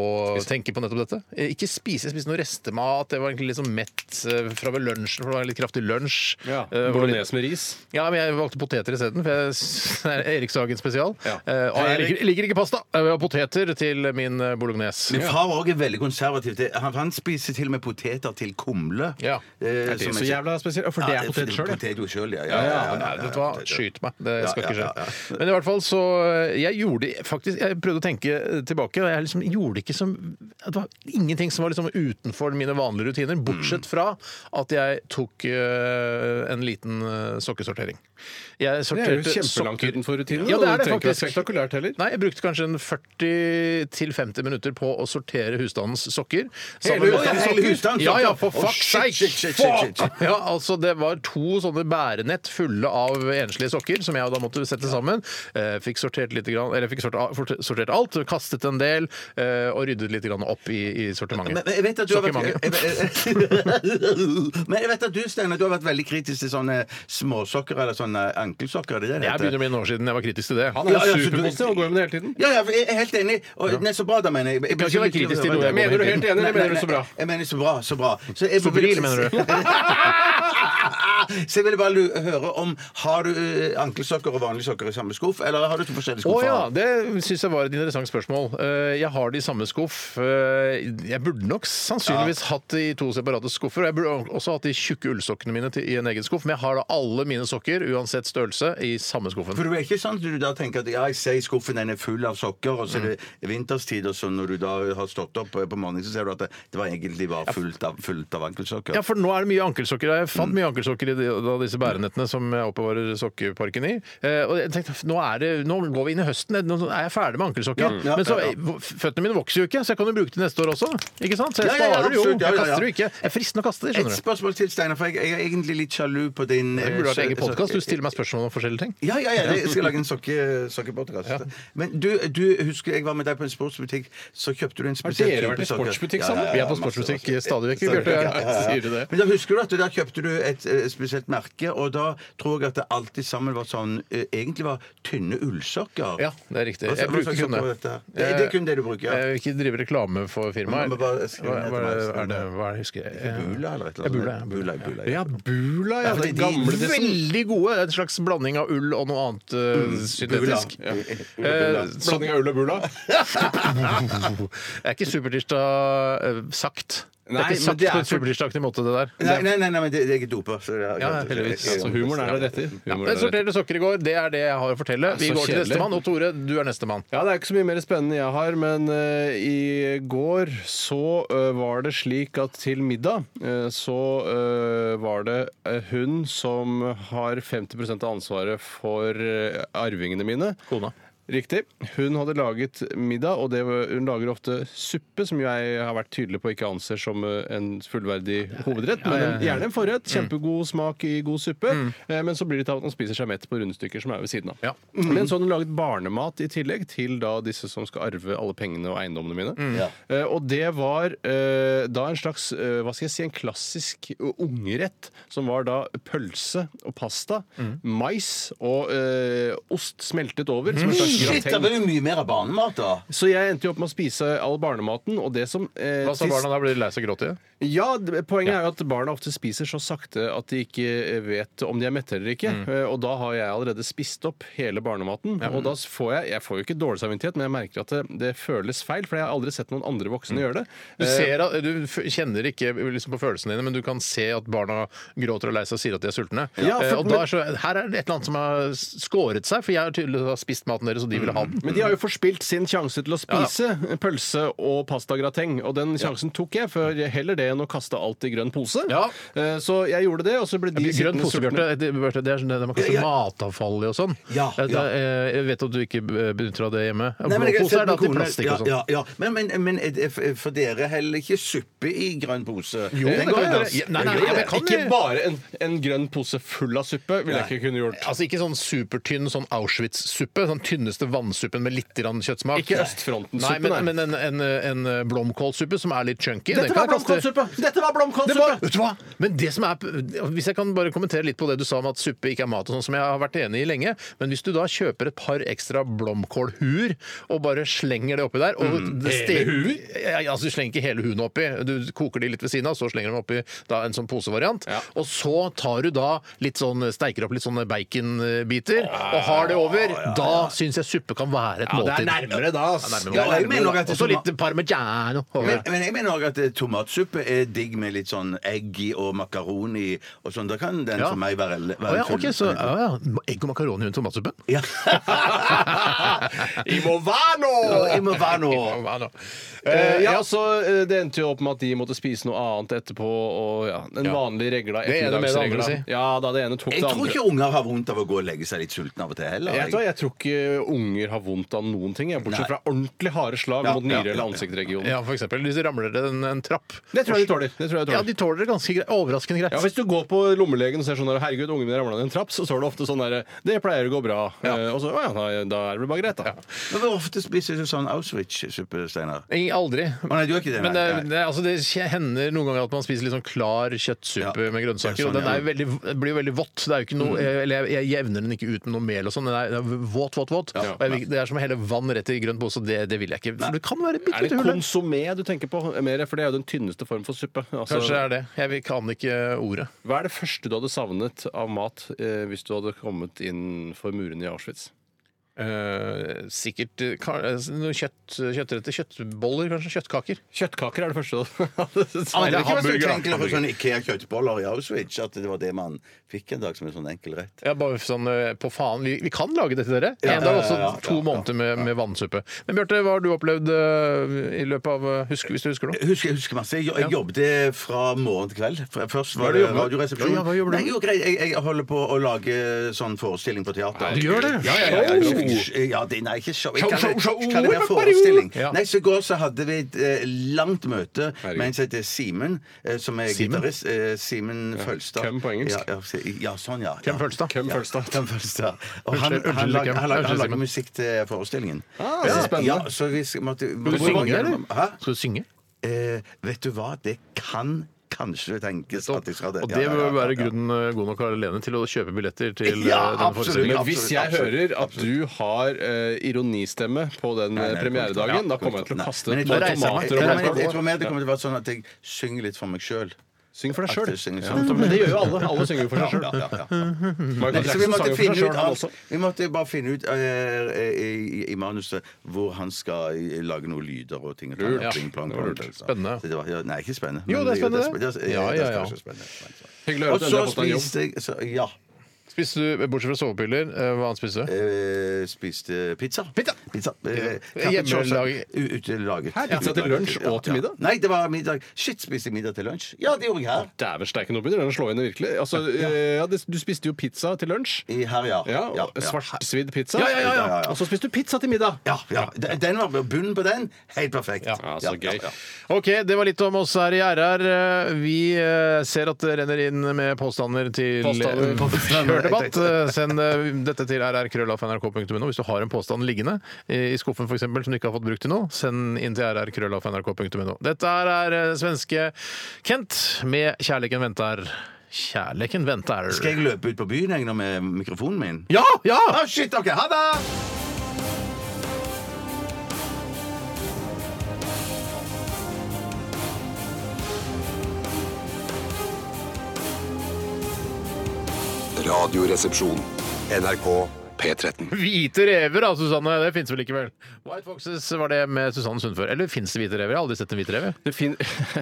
tenke på nettopp dette. Eh, Ikke spise, jeg spiste noe restemat. Jeg var egentlig litt sånn mett eh, fra ved lunsjen, for det var en litt kraftig lunsj.
ja,
Eh, hvor-
bolognese med ris.
ja, men jeg valgte poteter isteden, for jeg s- *laughs* er Erik Sagen spesial.
Ja.
Eh, og jeg liker, liker ikke pasta. Jeg vil ha poteter til min eh, bolognese.
Min far også er veldig konservativ. Det- Han, han spiser til og med poteter til kumle.
Ja.
Eh,
Det er
som jeg-
så jævla spesielt. For det
Ja,
er potet sjøl,
potet jo selv, ja.
Ja, ja,
Ja, nei, vet du hva?
potet, ja.
Skyt meg. Det
Ja,
skal ikke
ja,
skje.
ja,
Men i hvert fall så Jeg gjorde faktisk Jeg prøvde å tenke tilbake, og jeg liksom gjorde ikke som Det var ingenting som var liksom utenfor mine vanlige rutiner,
Mm.
bortsett fra at jeg tok eh, en liten eh, sokkesortering. Jeg
Det er
sorterte
jo kjempelangt
sokker-
utenfor rutinen.
Ja,
og
det er det
trenger ikke være
faktisk.
Spektakulært heller.
Nei, jeg brukte kanskje en 40-50 minutter på å sortere husstandens sokker.
Hele
Sammen med-
husstandens
Hele
sokker?
husstandens Ja, ja, for
Å,
fuck
shit,
sake!
shit, shit, shit, shit.
Fuck! Ja, altså Det var to sånne bærenett fulle av enslige sokker som jeg da måtte sette sammen. Eh, Fikk sortert litt, grann, eller fikk sortert, sortert alt, kastet en del eh, og ryddet ryddet litt grann opp i, i sortimentet.
Men, men jeg vet at du har vært,
Sortimentet.
jeg, jeg- men jeg vet at du, Steinar, du har vært veldig kritisk til sånne småsokker eller sånne ankelsokker. Er det det det
Jeg
heter?
begynner å bli noen år siden jeg var kritisk til det.
Han er
Ja,
jo
ja, så du-
superpositiv og går jo med det hele tiden.
Ja, ja, jeg er helt enig. Og, Nei, så bra, da, mener jeg. jeg, jeg
kan ikke være kritisk til noe jeg går
Mener du helt enig, eller
Nei, nei,
mener du så bra?
nei, Jeg mener så bra, så bra. Så, jeg,
Sobril, mener du?
så jeg ville bare lu- høre om Har du eh, ankelsokker og vanlige sokker i samme skuff, eller har du to forskjellige
Å
skuffer?
ja, det syns jeg var et interessant spørsmål. Eh, Jeg har de samme skuff. Eh, Jeg burde nok sannsynligvis hatt de i to separate skuffer. Og jeg burde også hatt de tjukke ullsokkene mine til, i en egen skuff, men jeg har da alle mine sokker, uansett størrelse, i samme skuffen.
For du er ikke sånn at du da tenker at ja, jeg ser i skuffen den er full av sokker, og så er det
Mm.
vinterstid, og så når du da har stått opp eh, på morgenen, så ser du at det, det var egentlig bare fullt av, fullt av ankelsokker.
Ja, for nå er det mye ankelsokker. Jeg
Mm.
fant mye ankelsokker i de, da disse bærenettene som jeg oppbevarer sokkeparken i. Eh, og jeg tenkte, nå, er det, nå går vi inn i høsten, nå er jeg ferdig med ankelsokker.
ja,
Men så,
ja, ja.
eh, føttene mine vokser jo ikke, så jeg kan jo bruke de neste år også. Ikke sant? Så jeg
Ja, ja, ja,
sparer jo.
absolutt. Ja,
Jeg
ja, ja.
kaster jo ikke. Jeg er fristende å kaste de,
Et
skjønner du.
spørsmål til, Steinar, for jeg, jeg er egentlig litt sjalu på din eh,
Det burde vært egen podkast. Du stiller meg spørsmål om forskjellige ting.
Ja, ja, ja, det- jeg skal lage en sokke, sokkepodkast. Men du, du husker jeg var med deg på en sportsbutikk, så kjøpte du en spesiell
dere vært i
type sokker.
sportsbutikk
Ja,
sammen?
ja, ja,
Vi er på
masse
sportsbutikk
sokker.
stadig vekk,
Stadig
Bjarte.
vekk, ja,
*laughs*
ja, ja.
Sier du det?
Men da husker du at da kjøpte du et eh, spesielt merke, og da tror jeg at det alltid sammen var sånn eh, Egentlig var tynne ullsokker.
Ja, det er riktig.
Hva-
Jeg
hva
bruker kun
slags sokker
det.
var dette? Det, det er kun det du
Jeg
bruker, ja.
vil ikke drive reklame for firmaet.
Men bare skriv
Hva,
ned
hva,
til meg,
er det-
skriv
er det,
ned.
hva er det jeg husker jeg?
Bula eller et
Ja, Bula,
eller
ja.
annet? Bula, bula,
Ja, Bula, ja.
Ja, for
Den
de-
gamle
det
Veldig gode! Det er En slags blanding av ull og noe annet eh, syntetisk. *laughs*
*laughs* Bula.
Eh, så-
Blanding av ull og bula? *laughs*
Det er ikke supertirsdag eh, sagt. Det
Nei,
er
men
ikke sagt
det er
på en
for-
supertirsdagaktig måte, det der.
Nei, nei, nei, nei, men det, det er ikke dopa. Så det er,
Ja, heldigvis.
Så altså, humoren er der etter.
Ja,
Humoren
jeg
er der etter.
sorterte sokker i går. Det er det jeg har å fortelle. Vi
så
går til
kjedelig.
nestemann. Og Tore, du er nestemann.
Ja, Det er ikke så mye mer spennende jeg har, men eh, i går så eh, var det slik at til middag eh, så eh, var det eh, hun som har 50 av ansvaret for eh, arvingene mine.
Kona.
Riktig. Hun hadde laget middag, og det var, hun lager ofte suppe, som jeg har vært tydelig på ikke anser som eh, en fullverdig hovedrett, men en- gjerne en forrett.
Mm.
Kjempegod smak i god suppe. Eh, Men så blir det til at man spiser seg mett på rundstykker som er ved siden av.
Ja.
Mm. Men så har hun laget barnemat i tillegg til da disse som skal arve alle pengene og eiendommene mine.
Mm.
Eh, Og det var eh, da en slags, eh, hva skal jeg si, en klassisk eh, ungerett, som var da pølse og pasta,
Mm.
mais og eh, ost smeltet over. Som en slags
Mm. Shit, det
grateng.
var jo mye mer av barnemat, da.
Så jeg endte jo opp med å spise all barnematen, og det som eh,
Hva sa
til-
barna da? Ble de lei seg og gråt i det?
Ja, d- Poenget er jo at barna ofte spiser så sakte at de ikke eh, vet om de er mette eller ikke.
Mm.
Eh, Og da har jeg allerede spist opp hele barnematen. Og da s- får jeg jeg får jo ikke dårlig samvittighet, men jeg merker at det, det føles feil, for jeg har aldri sett noen andre voksne gjøre det.
Mm. Du,
Eh,
ser at, du f- kjenner ikke liksom på følelsene dine, men du kan se at barna gråter og er lei seg og sier at de er sultne.
Ja, for-
Eh, og da er så, her er det et eller annet som har skåret seg, for jeg har tydeligvis har spist maten deres, og de ville ha den.
Men de har jo forspilt sin sjanse til å spise pølse og pastagrateng. Og den sjansen tok jeg, for heller det enn å kaste alt i grønn pose.
Ja.
Eh, Så jeg gjorde det, og så ble de
Grønn
sittende
pose,
sultne.
Bjarte, det, Bjarte, det er sånn det man kaster matavfall i og sånn.
Ja,
Eh,
ja.
det er- Jeg vet at du ikke eh, benytter deg av det hjemme.
Nei, men
Blå
jeg har
pose
sett
er da
med
til
kone-
plastikk
ja,
og sånn.
Ja, ja. Men, men, men er det for- for dere heller ikke suppe i grønn pose? Eh, Jo,
det kan jeg gjøre. Ja, nei, nei, ja, det kan
ikke
vi.
bare en, en grønn pose full av suppe ville jeg ikke kunne gjort.
Altså Ikke sånn supertynn sånn Auschwitz-suppe. Sånn tynneste vannsuppen med litt grann kjøttsmak.
Ikke østfronten-suppe,
Nei, men, men
nei.
en, en, en eh, blomkålsuppe som er litt chunky. den
Dette
kan
var
jeg kaste-
blomkålsuppe! Dette var
Det var,
blomkålsuppe!
vet du hva? Men det som er, hvis jeg kan bare kommentere litt på det du sa om at suppe ikke er mat, og sånn som jeg har vært enig i lenge, men hvis du da kjøper et par ekstra blomkålhuer og bare slenger det oppi der og
Mm.
det ste- Ja, ja, altså Du slenger ikke hele huene oppi, du koker de litt ved siden av, så slenger du dem oppi da, en sånn posevariant. Og så tar du da litt sånn, steiker opp litt sånne baconbiter og har det over. Da syns jeg suppe kan være et måltid.
da.
Ja, nærmere.
Ja, jeg mener nok at det
Og så litt parmigiano. over.
Men, men jeg mener òg at eh, tomatsuppe er digg med litt sånn egg i og makaroni og sånn. Da kan den
Ja.
for meg være,
Å
være
ja, ok, så
ja.
ja, ja. Egg og makaroni i en tomatsuppe?
Imovano!
Imovano.
*laughs* Ja, da.
Eh, ja, så eh, Det endte jo opp med at de måtte spise noe annet etterpå. Og ja, Den
Ja.
vanlige regla.
Det ene med det andre,
ettermiddagsregla.
si.
Ja, da det ene tok
Jeg
det
tror
andre.
ikke unger har vondt av å gå og legge seg litt sultne av og til heller.
Jeg tror, jeg tror ikke unger har vondt av noen ting, jeg, bortsett
Nei.
fra ordentlig harde slag
Ja,
mot
ja,
nyre
ja, ja.
eller ansiktsregionen.
Ja, for eksempel. Hvis det ramler det en, en trapp.
Det tror jeg de tåler. Det tror jeg de
Ja,
tåler.
de tåler det ganske greit. Overraskende greit.
Ja, Hvis du går på lommelegen og ser sånn der, herregud, ungen min ramla ned en trapp, så står det ofte sånn der Det pleier å gå bra. Eh, og så, å ja, da, da er det vel bare greit, da.
Men Hvor ofte spiser du sånn Auschwitz-suppe, Steinar?
Ingen- Aldri.
Å nei, du er ikke det,
Men det,
nei,
er-
nei.
det, er- altså, det hender noen ganger at man spiser litt sånn klar kjøttsuppe
Ja.
med grønnsaker,
Ja, sånn,
og den
ja.
er jo veldig, blir jo veldig vått. Det er jo ikke noe, eh, eller jeg, jeg jevner den ikke ut med noe mel og sånn. Den er, den er våt, våt, våt.
Ja.
Og jeg, vil- det er som å helle vann rett i grønn pose, og det, det vil jeg ikke. For det kan være et bitte
Er det
lite hull der.
konsomé du tenker på? Mer, for det er jo den tynneste form for suppe. Altså,
Kanskje det er det. Jeg vil- kan ikke ordet.
Hva er det første du hadde savnet av mat eh, hvis du hadde kommet innenfor murene i Auschwitz?
Eh, sikkert eh, ka- eh, noe kjøtt, kjøttretter. Kjøttboller, kanskje. Kjøttkaker.
Kjøttkaker er det første du hadde *laughs*
Ah, Men det
savnet.
har ikke vært
hamburger,
så
da.
utenkelig for sånne sånn Ikea-kjøttboller i Auschwitz at det var det man fikk en dag som en sånn enkel rett.
Ja, bare sånn eh, på faen. Vi, vi kan lage det til dere. En dag også
ja, ja, ja,
to
ja.
måneder med, med vannsuppe. Men Bjarte, hva har du opplevd eh, i løpet av eh, husk, Hvis du husker noe?
Jeg husker, jeg husker masse. Jeg, jo- jeg jobbet eh, fra morgen til kveld. Fra- Først var
er det du
det
jobber med?
Radioresepsjonen.
Ja, ja, hva jobber du
Nei, jo, greit, jeg, jeg holder på å lage sånn forestilling på teater.
Du gjør det?
Ja, ja, ja,
Oh!
Oh!
ja, ja, eh, ja det, nei, ikke show. Jeg
Show,
kan,
show, show.
kan det være forestilling.
Ja.
Nei, så I går så hadde vi et eh, langt møte
Herregud.
med en som heter Simen, eh, som er
Simen?
gitarist. Eh, Simen Følstad.
Køm på engelsk.
Ja, ja, si- ja sånn, ja.
Hvem føles det?
Hvem først, da?
Køm Følstad. Og han,
Unnskyld,
han,
unnskyld,
lag-
Køm.
han, lag- han
Unnskyld,
lager
Simen.
musikk til eh, forestillingen. Eh,
Ah, så spennende.
Ja, så vi skal- måtte,
Skal du synge,
Hæ?
eller? Skal du synge?
Eh, vet du hva, det kan kanskje tenkes at jeg skal det.
Og
Ja,
det
ja,
bør
ja, ja,
være
ja.
grunnen eh, god nok alene til å kjøpe billetter til eh,
Ja,
denne
absolutt.
forestillingen.
Men hvis
absolutt,
jeg
absolutt,
hører at du har eh, ironistemme på den eh,
Nei, nei,
premieredagen,
kommer
da kommer jeg til å
Nei,
kaste
men jeg
ut
tror-
noen
jeg-
tomater
jeg-
og
jeg- jeg- Jeg
blomkål.
tror mer det kommer til å være sånn at jeg synger litt for meg sjøl.
Syng for deg
At
sjøl.
jeg synger
Ja,
sånn.
men det gjør jo alle. Alle synger jo for seg
Ja,
sjøl.
ja, ja, ja.
Michael
Så vi
Jackson sang
måtte,
jo for seg
finne ut,
sjøl, han
alt-
også.
vi måtte bare finne ut eh, eh, i, i manuset hvor han skal i- lage noen lyder og ting. og tang,
Lurt.
pling, plong,
Det var
plong,
lurt.
altså.
Spennende.
Så det var, ja, nei, ikke spennende.
Jo,
men
det er spennende,
det
det.
Ja,
Ja, ja,
ja,
ja.
Hyggelig å høre
Og
at du endelig
så
har fått deg en jobb.
spiste jeg så, Ja.
Spiste du, bortsett fra sovepiller, eh, hva annet spiste du?
eh, Spiste pizza.
Pizza.
Eh,
Hjemmelaget.
u- Utelaget.
Hæ, pizza til lunsj og til
Ja, ja.
middag?
Nei, det var middag. Shit, spiste jeg middag til lunsj? Ja, det gjorde jeg her.
Dæven steike, nå begynner den å slå inn virkelig. Altså, eh, ja, det- du spiste jo pizza til lunsj.
I her, ja.
Ja, og Svartsvidd pizza.
Ja, ja, ja,
ja.
Og så spiste du pizza til middag.
Ja, ja. De- Den var bunnen på den. Helt perfekt.
Ja, så gøy.
Ok, det var litt om oss her i RR. Eh, Vi eh, ser at det renner inn med påstander til Kjør
Påstander.
debatt. Eh, Send eh, dette til rrkrøllalfa.nrk.no hvis du har en påstand liggende eh, i skuffen for eksempel, som du ikke har fått brukt til noe. Send inn til rrkrøllalfa.nrk.no. Dette her er eh, svenske Kent med 'Kjærleken venter'. Kjærleken venter.
Skal jeg løpe ut på byen jeg, nå med mikrofonen min?
Ja! Ja!
Ah, shit, ok, ha det!
Radioresepsjon. NRK P13.
Hvite rever, da, Susanne. Det fins vel ikke vel? White Foxes var det med Susanne Sundfør. Eller fins det hvite rever? Jeg har aldri sett en hvit rev. jeg.
Det, fin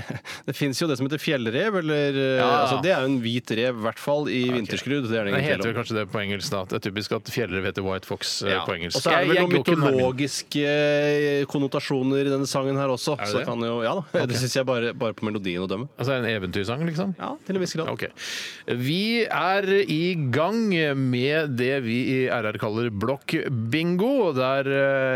*laughs* det fins jo det som heter fjellrev, eller eh,
Ja.
altså, Det er jo en hvit rev, i hvert fall i vinterskrud. Det er
Det
det ingen tvil
heter
om.
vel kanskje det på engelsk. da. Det er typisk at fjellrev heter White Fox eh,
Ja.
på engelsk.
Og så er det vel
Jeg- jeg
noen
går ikke nærmere.
mytologiske eh, konnotasjoner i denne sangen her også.
Er det
så
det?
kan jo, ja da, Det syns jeg bare, bare på melodien å dømme.
Altså er det en eventyrsang, liksom?
Ja, til en viss grad.
Ok. Vi er i gang med det vi i RR kaller blokkbingo, der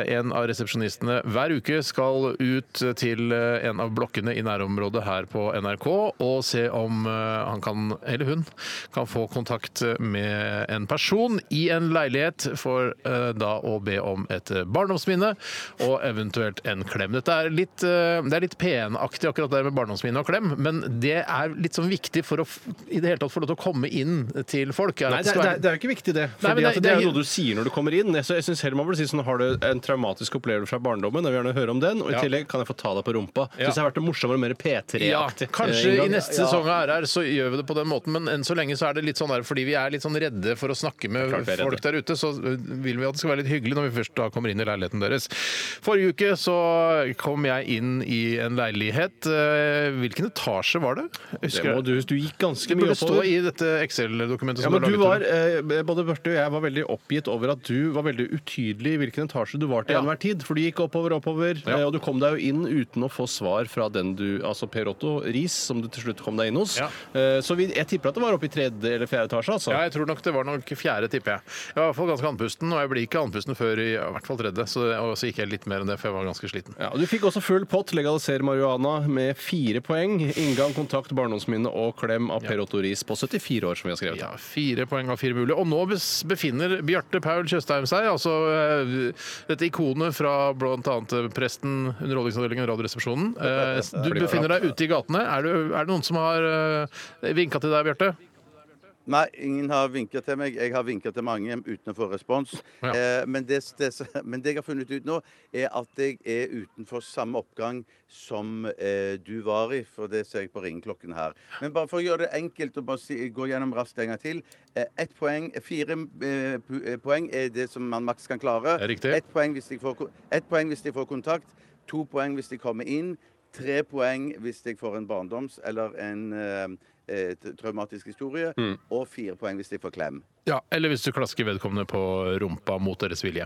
eh, en av resepsjonistene hver uke skal ut til eh, en av blokkene i nærområdet her på NRK og se om eh, han kan, eller hun, kan få kontakt med en person i en leilighet for eh, da å be om et barndomsminne og eventuelt en klem. Dette er litt, eh, det er litt PN-aktig akkurat det med barndomsminne og klem, men det er litt sånn viktig for å f- i det hele tatt få lov til å komme inn til folk. er at
Nei, det,
skal
er- det,
være-
er- det er jo ikke viktig, det. Fordi
men det-
at det,
det er
er jo
ikke-
noe du sier når du kommer inn. Så jeg synes heller man burde si sånn Har du en traumatisk opplevelse fra barndommen? Jeg vil gjerne høre om den. Og i
Ja.
tillegg kan jeg få ta deg på rumpa.
Ja.
Syns jeg har vært det morsommere og mer
Ja,
P3-aktig.
kanskje
Eh,
i
inngang.
neste
Ja.
sesong av RR så gjør vi det på den måten, men enn så lenge så er det litt sånn der fordi vi er litt sånn redde for å snakke med
Klart vi er redde.
folk der ute, så eh, vil vi at det skal være litt hyggelig når vi først da kommer inn i leiligheten deres. Forrige uke så kom jeg inn i en leilighet. Eh, Hvilken etasje var det?
Det
Husker
må
jeg.
du, du gikk ganske
Det
mye
burde stå
oppover.
i dette Excel-dokumentet
Ja,
som
men
du
du
har
var,
laget.
eh, både Bjarte og jeg var veldig oppgitt over at du var veldig utydelig i hvilken etasje du var til enhver tid. For du gikk oppover og oppover, eh, og du kom deg jo inn uten å få svar fra den du Altså Per Otto Riis, som du til slutt kom deg inn hos.
Ja.
Eh, Så vi, jeg tipper at det var oppe i tredje eller fjerde etasje, altså.
Ja, jeg tror nok det var nok fjerde, tipper jeg. Jeg var i hvert fall ganske andpusten, og jeg ble ikke andpusten før i, i hvert fall tredje. Så, og så gikk jeg litt mer enn det, for jeg var ganske sliten.
Ja, og du fikk også full pott, legaliser marihuana, med fire poeng. Inngang, kontakt, barndomsminne og klem av Per Otto Riis på 74 år, som vi har skrevet.
Ja, Fire poeng av fire mulige. Og nå bes- befinner Bjarte Paul Tjøstheim seg, altså eh, dette ikonet fra bl.a. presten, Underholdningsavdelingen,
*laughs*
Radioresepsjonen. Eh, Du befinner deg ute i gatene. Er, du, er det noen som har vinka til deg, Bjarte?
Nei, ingen har vinket til meg. Jeg har vinket til mange uten å få respons.
Ja.
Eh, men, det, det, men det jeg har funnet ut nå, er at jeg er utenfor samme oppgang som eh, du var i. For det ser jeg på ringeklokken her. Men bare for å gjøre det enkelt og bare si, gå gjennom raskt en gang til. Eh, ett poeng, fire eh, pu- eh, poeng er det som man maks kan klare.
Det er riktig.
Ett poeng hvis jeg får, ko- ett poeng hvis jeg får kontakt. To poeng hvis jeg kommer inn. Tre poeng hvis jeg får en barndoms- eller en eh, eh, t- traumatisk historie.
Mm.
Og fire poeng hvis jeg får klem.
Ja, Eller hvis du klasker vedkommende på rumpa mot deres vilje.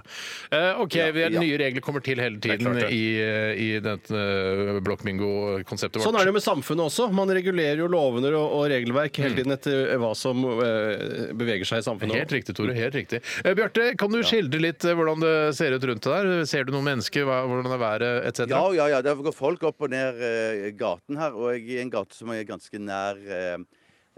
Eh, ok, vi er,
ja.
Nye regler kommer til hele tiden
klart det.
i, eh, i dette eh, blokkmingo-konseptet vårt.
Sånn er det jo med samfunnet også. Man regulerer jo lovene og, og regelverk hele tiden etter hva som eh, beveger seg i samfunnet.
Mm. Helt riktig, Tore. helt riktig. Eh, Bjarte, kan du skildre litt eh, hvordan det ser ut rundt deg? der? Ser du noen mennesker? Hva, hvordan er været etc.?
Ja, ja, ja. Der går folk opp og ned eh, gaten her. Og jeg er i en gate som er ganske nær eh,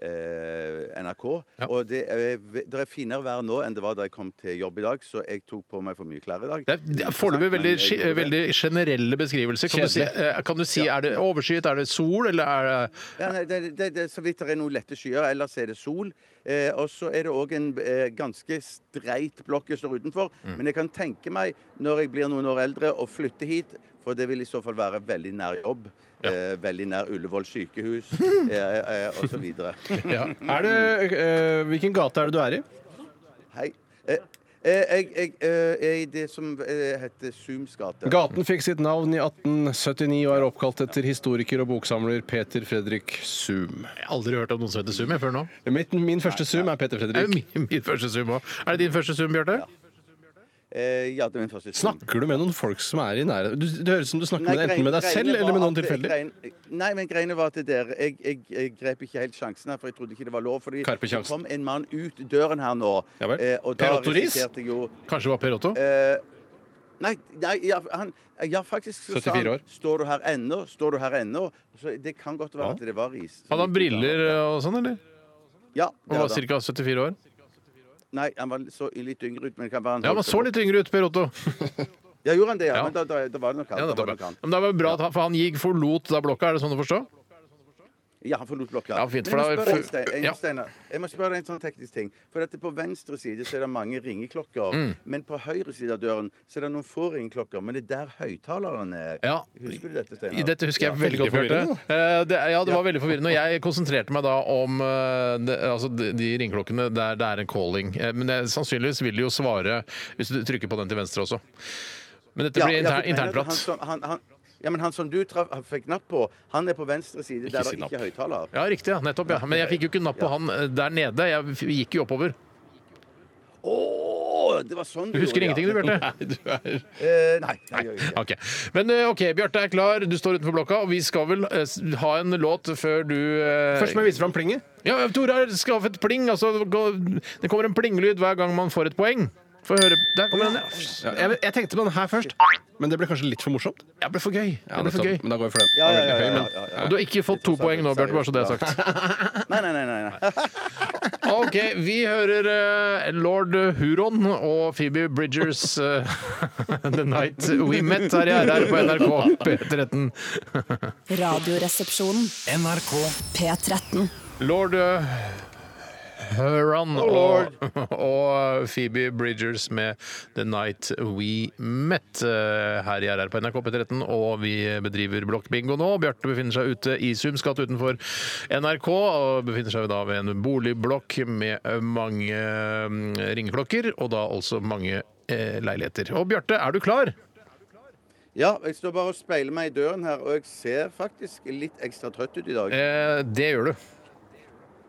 eh, NRK.
Ja.
Og det er, det er finere vær nå enn det var da jeg kom til jobb i dag, så jeg tok på meg for mye klær i dag.
Det er- det er foreløpig veldig,
Men jeg
ski-
gjorde det.
veldig generelle beskrivelser. Kan du si,
Kjedelig.
eh, kan du si er det overskyet, er det sol, eller er det
Ja, nei, det, det, det, så vidt det er noen lette skyer, ellers er det sol. Eh, og så er det òg en eh, ganske streit blokk jeg står utenfor. Men jeg kan tenke meg, når jeg blir noen år eldre, å flytte hit. For det vil i så fall være veldig nær jobb. Eh, veldig nær Ullevål sykehus eh, eh, og så videre.
ja.
Er det, eh, hvilken gate er det du er i?
Hei. Eh, eh, jeg jeg eh, er i det som eh, heter Zooms gate.
Gaten fikk sitt navn i 1879 og er oppkalt etter historiker og boksamler Peter Fredrik Zoom.
Jeg har aldri hørt om noen som heter Zoom jeg, før nå.
Mitt, min første Zoom er Peter
Det er jo
Fredrik.
min, min første Zoom også. Er det din første Zoom, Bjarte?
Eh, ja, det er min første Zoom.
Snakker du med noen folk som er i nærheten? Du, det høres ut som du snakker
Nei,
med, enten med deg
grein-
selv
greiene
eller med
var
noen
at-
tilfeldig.
grein- Nei, men greiene var til dere. Jeg, jeg, jeg grep ikke helt sjansen her, for jeg trodde ikke det var lov. Fordi
Karpe
det
sjansen.
kom en mann ut døren her nå.
Ja vel.
eh, og
Per
da
Otto Riis?
risikerte jeg jo
Kanskje det var Per Otto?
eh, Nei, nei ja, han, ja, faktisk så sa
74 år.
han Står du her ennå? Står du her ennå? Så det kan godt være at det var Riis.
Hadde han briller og sånn, eller?
Ja.
Og
det
var
hadde han.
ca. 74 år?
Nei, han var så litt yngre ut, men det kan være han
Ja, man så litt yngre ut, Per Otto.
Ja, gjorde han det, ja.
Ja.
Men da, da, da var det nok han.
Ja,
da
det
var
er
det nok
bra.
han.
Men det var bra at han, for han gikk forlot da blokka, er det sånn å forstå?
Ja, han forlot blokka.
Ja, fint,
Men
for
jeg må
da-
spørre deg, Stein-
Ja.
Steinar, jeg må spørre deg en sånn teknisk ting. For at På venstre side så er det mange ringeklokker.
Mm.
Men på høyre side av døren så er det noen få ringeklokker. Men det er der høyttaleren er.
Ja.
Husker du dette,
I
Steinar?
dette husker jeg veldig
godt
godt. Bjarte.
forvirrende,
Eh, det- Ja, det var veldig forvirrende. Og jeg konsentrerte meg da om eh, det- altså de de ringeklokkene der det er en calling. Eh, Men det, sannsynligvis vil de jo svare hvis du trykker på den til venstre også. Men dette blir
for
inter,
jeg mener at Han,
internprat.
som- han, han, ja, men han som du traff, han fikk napp på, han er på venstre side der
si
det ikke er høyttaler.
Ja, riktig. ja, Nettopp. ja. Men jeg fikk jo ikke napp på han eh, der nede. Jeg f- gikk jo oppover.
Å, det var sånn
Du husker
gjorde,
ingenting, du, Bjarte?
*laughs* Nei, du er
Eh, nei, det gjør jeg
*laughs*
ikke.
Ok. Men eh, OK, Bjarte er klar. Du står utenfor blokka, og vi skal vel eh, s- ha en låt før du eh,
Først må jeg vise fram plinget.
Ja, Tore har skaffet pling. Altså, det kommer en plinglyd hver gang man får et poeng. Få høre. Der kommer den.
Ja, jeg, jeg tenkte på den her først, men det ble kanskje litt for morsomt.
Ja, det ble for gøy. Det ble for gøy.
Men da går jeg for den.
Ja, ja,
Den
ja,
er veldig
ja,
høy,
ja,
men-
ja, ja.
Du har ikke fått to poeng nå, Bjarte, bare så det er sagt.
Nei, nei, nei. nei, nei.
OK, vi hører eh, lord Huron og Phoebe Bridgers eh, *laughs* The Night We Met her i RR på NRK P13.
Radioresepsjonen.
NRK
P13.
Lord eh, Huron og, *laughs* og Phoebe Bridgers med The Night We Met eh, her i RR på NRK P13. Og vi bedriver blokkbingo nå. Bjarte befinner seg ute i Sums gate utenfor NRK. Og befinner seg da ved en boligblokk med eh, mange eh, ringeklokker, og da også mange eh, leiligheter. Og Bjarte, er du klar?
Ja, jeg står bare og speiler meg i Eh, døren her, og jeg ser faktisk litt ekstra trøtt ut i dag.
Eh, det gjør du.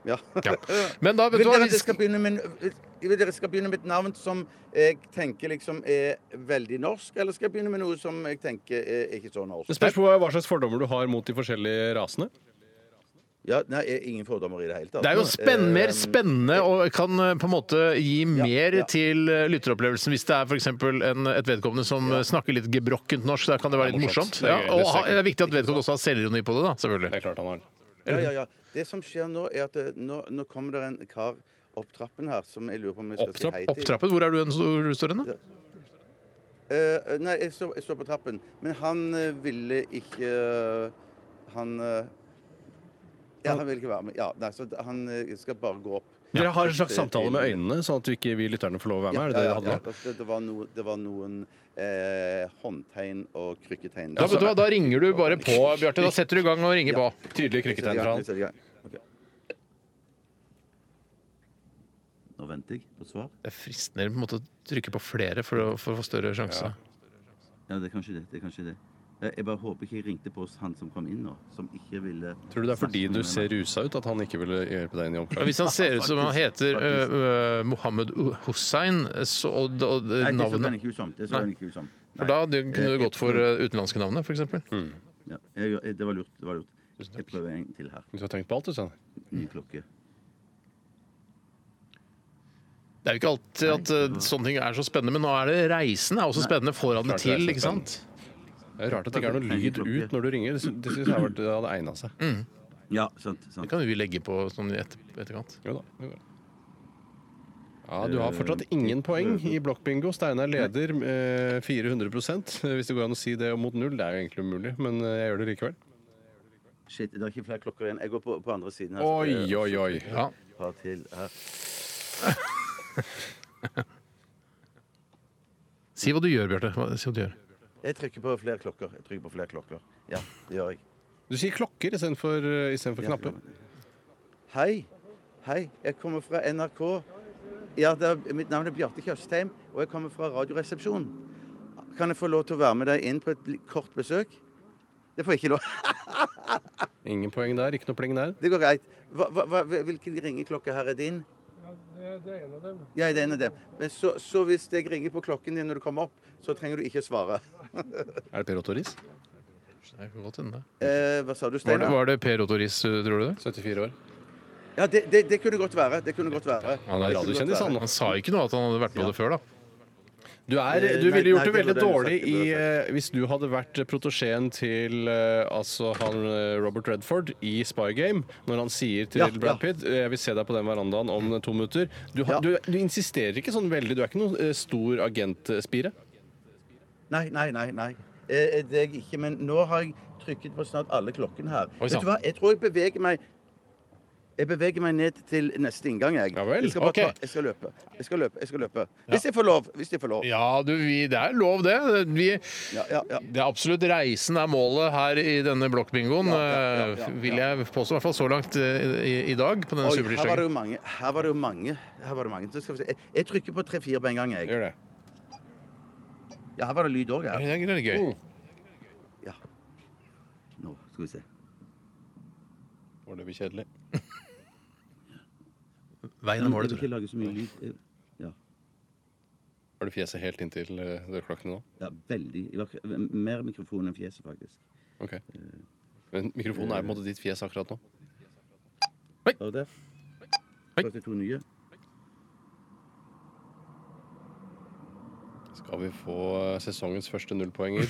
Ja.
Ja. Men da, vet
Vil
du hva vi
dere, at jeg skal
skal...
begynne med, en- vil dere skal begynne med et navn som jeg tenker liksom er veldig norsk, eller skal jeg begynne med noe som jeg tenker er ikke så norsk?
Det spørs på hva slags fordommer du har mot de forskjellige rasene.
Ja, nei, jeg- ingen fordommer i det hele tatt.
Det er jo spenn, mer
Eh,
spennende og kan eh, på en måte gi mer
ja.
til eh, lytteropplevelsen hvis det er f.eks. et vedkommende som eh, snakker litt gebrokkent norsk. Da kan det være litt morsomt.
morsomt. Det er
Ja,
gøy,
og
det ser
ha-
jeg.
det er viktig at vedkommende også har selvironi på det, da, selvfølgelig.
Det er klart han har.
Ja, ja, ja. Det som skjer nå, er at eh, nå, nå kommer det en kar opp trappen her som jeg lurer på om jeg skal si
Opptrapp,
hei til.
opptrappet, hvor er du hen, står- står hen? da?
Eh, nei, jeg står, jeg står på trappen. Men han eh, ville ikke eh, Han eh, Ja, han ville ikke være med. Ja, nei, så han eh, skal bare gå opp.
Dere har en slags samtale med øynene, sånn at vi ikke vi lytterne får lov å være med? Er det det det handler om?
ja, det, det var noe- det var noen eh, håndtegn og krykketegn.
Da, vet du hva, da ringer du bare på, Bjarte. Da setter du i gang og ringer på.
Tydelige krykketegn fra han.
Setter i gang. Ok. Nå venter jeg på svar.
Det er fristende på en måte å trykke på flere for å, for å få større sjanse.
Ja, det er kanskje det. det, er kanskje det. Eh, Jeg bare håper ikke jeg ringte på han som kom inn nå, som ikke ville
Tror du det er fordi
snakke
du
med meg.
ser rusa ut at han ikke ville hjelpe deg inn i
Og
omklæringen?
Hvis han ser ut som han heter
Faktisk.
øh, øh, Mohammed Hussein, så, og, og
Nei, det så
navnet
den ikke ut som. Det så den ikke ut som.
For da hadde- kunne du gått for øh, utenlandske navnet, f.eks. eksempel
Ja, jeg, jeg, det var lurt. Det var lurt. Jeg prøver en til her.
Du har tenkt på alt, du, Steinar.
Ny klokke.
Det er jo ikke alltid at øh, sånne ting er så spennende, men nå er det reisen er også spennende. Får han det
Klart det er
til,
så
ikke sant?
Det er rart at det ikke er noe lyd ut når du ringer. Det sy- det synes jeg hadde vært- det hadde egna seg.
Ja, sant.
Det
sant.
kan vi legge på sånn i etter, etterkant.
Jo da, det går. Ja, Du har fortsatt
Eh,
ingen poeng
mm.
i blokkbingo. Steinar leder eh, 400 eh, hvis det går an å si det mot null. Det er jo egentlig umulig, men eh, jeg gjør det likevel.
Shit, det er ikke flere klokker igjen. Jeg går på, på andre siden her.
Oi, oi, oi.
Ja.
Et par til her.
Si hva du gjør, Bjarte. Hva- Si hva du gjør.
Jeg trykker på flere klokker. Jeg trykker på flere klokker. Ja, det gjør jeg.
Du sier klokker istedenfor for knapper.
Hei. Hei, jeg kommer fra NRK. Ja, det er, mitt navn er Bjarte Tjøstheim, og jeg kommer fra Radioresepsjonen. Kan jeg få lov til å være med deg inn på et li- kort besøk? Det får jeg ikke lov. *laughs*
Ingen poeng der, ikke noe poeng der.
Det går greit. Hva, hva, hva, hvilken ringeklokke her er din? Ja, det er en av dem. Men så, så hvis jeg ringer på klokken din når du kommer opp, så trenger du ikke svare.
Er det Per Otto Riis?
Det kan godt hende.
Eh, hva sa
Var
du,
det,
Steinar?
var det Per Otto Riis, øh, tror du det?
74
Eh,
år.
Ja, det, det, det kunne godt være. Det kunne godt være.
Han er
Det kunne godt
radiokjendis, han
være.
nå.
Han sa ikke noe at han hadde vært med på det før, da.
Du, er,
Eh,
du
nei,
ville gjort
nei,
det
det
veldig
burde jeg
dårlig
sagt, det
i,
burde jeg
eh, hvis du hadde vært protosjeen til eh, altså han eh, Robert Redford i Spy Game, når han sier til
Ja, ja.
Brad Pitt eh, 'Jeg vil se deg på den verandaen om eh, to minutter'. Du, har,
Ja.
du, du insisterer ikke sånn veldig. Du er ikke noen eh, stor agentspire.
Nei, nei, nei. nei. Eh, eh, det er jeg ikke. Men nå har jeg trykket på snart alle klokkene her.
Oi,
Vet
sant.
du hva? Jeg tror jeg beveger meg jeg beveger meg ned til neste inngang. Jeg,
Ja vel,
jeg, skal, bare
ok.
ta, jeg skal løpe. Jeg skal løpe. jeg skal løpe. Hvis jeg får lov. Hvis jeg får lov.
Ja, du, vi, det er lov, det. Vi,
Ja, ja, ja.
Det er absolutt reisen er målet her i denne blokkbingoen,
Ja, ja, ja, ja,
eh, vil jeg påstå. I hvert fall så langt eh, i, i dag på denne
Oi, her var det
supertirsdagen.
jo mange. Her var det jo mange. Her var det mange. Så skal vi se. Jeg, jeg trykker på tre-fire på en gang. Jeg.
Gjør det.
Ja, her var det lyd òg.
Ja, Det er det er gøy.
Ja. Nå skal vi se.
Foreløpig kjedelig.
Veien er målet,
jeg vil
tror jeg.
ikke lage så mye lyd. Ja,
Har du fjeset helt inntil eh, dørklokkene nå?
ja veldig. Jeg var- Mer mikrofon enn fjeset, faktisk.
Ok. Men mikrofonen er på en måte ditt fjes akkurat nå.
Hører du det?
Oi.
42 nye.
Skal vi få eh, sesongens første *laughs* nullpoenger?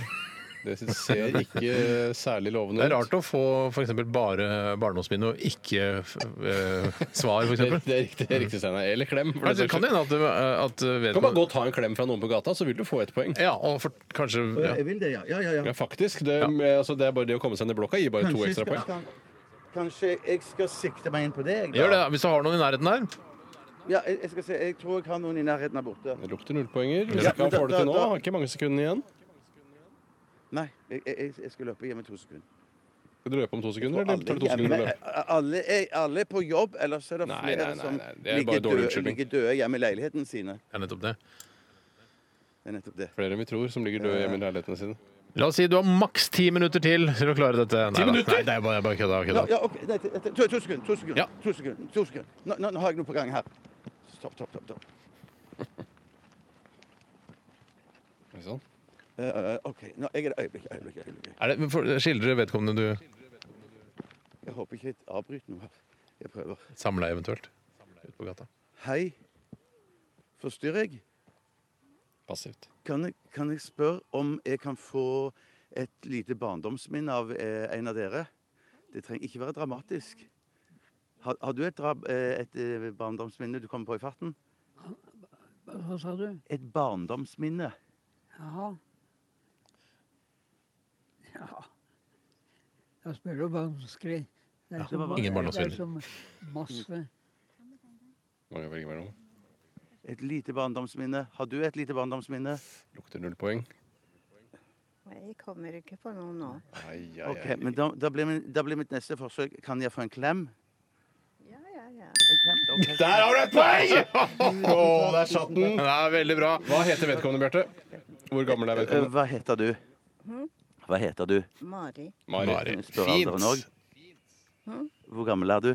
Det ser ikke eh, særlig
Det
lovende
er
ut.
rart å få f.eks. bare barndomsminne og ikke eh, svar, *laughs*
Det er,
f.eks.
det er riktig, det er riktig Steinar. Eller klem. for
Det
den
kan
saks skyld.
hende at, eh, at
Du kan bare
vedkommende
gå og ta en klem fra noen på gata, så vil du få ett poeng.
Ja, og for, kanskje ja.
Jeg vil det, ja. Ja, ja, ja.
Ja, faktisk. Det, altså, det er bare det å komme seg ned i blokka gir bare to
Kanskje jeg
ekstra
skal-
poeng.
kan- Kanskje jeg skal sikte meg inn på deg?
Gjør det, da, hvis du har noen i nærheten der.
Ja, jeg, jeg skal se. Jeg tror jeg har noen i nærheten her borte.
Det lukter nullpoenger. Hvis
Ja,
ikke han
men da-
får det til
da-
nå,
da-
har ikke mange sekundene igjen.
Nei, jeg, jeg, jeg skal løpe hjemme to sekunder.
Skal du løpe om to sekunder, eller tar det to
Alle,
sekunder å løpe?
hjemme, alle, er, alle er på jobb, ellers er det
Nei,
flere
nei, nei,
som
nei, det er bare
ligger
dårlig
døde,
unnskyldning.
ligger døde hjemme i leilighetene sine.
Det er nettopp det.
Det er nettopp det.
Eh, Flere enn vi tror, som ligger døde hjemme i leilighetene sine.
La oss si du har maks ti minutter til til å klare dette. Nei, da.
minutter?
Nei, det er bare, jeg bare kødda.
Nå,
kødda.
ja, ok, nei, t- t- to, to sekunder. To sekunder.
Ja.
To sekunder, to sekunder. Nå, nå, nå har jeg noe på gang her. Stopp, stopp, stopp. stopp.
Sånn.
Eh, OK. Nå, jeg er det øyeblikk, øyeblikk, øyeblikk.
Er det, for, skildrer vedkommende du
Jeg håper ikke jeg avbryter noe her. Jeg prøver.
samleie eventuelt? Ut på gata.
Hei. Forstyrrer jeg?
Passivt.
Kan jeg, kan jeg spørre om jeg kan få et lite barndomsminne av eh, en av dere? Det trenger ikke være dramatisk. Har, har du et, drab, eh, et eh, barndomsminne du kom på i farten?
Hva sa du?
Et barndomsminne?
Jaha. Ja Da spør du vanskelig. Det er så
det var
ma-
Ingen
Det
barndomsminner.
er så masse.
Mange velger mellom.
Et lite barndomsminne. Har du et lite barndomsminne?
Lukter null poeng.
Jeg kommer ikke på noe nå.
Ai, ai, ai.
Ok, men da, da, blir min, da blir mitt neste forsøk Kan jeg få en klem?
Ja, ja, ja.
En klem? ok.
Der har du et *laughs* poeng! Å, der satt den.
Det er veldig bra.
Hva heter vedkommende, Bjarte? Hvor gammel
Eh,
er vedkommende?
Hva heter du? Hva heter du?
Mari.
Eh,
Mari.
Jeg spør alderen også. Hm? Hvor gammel er du?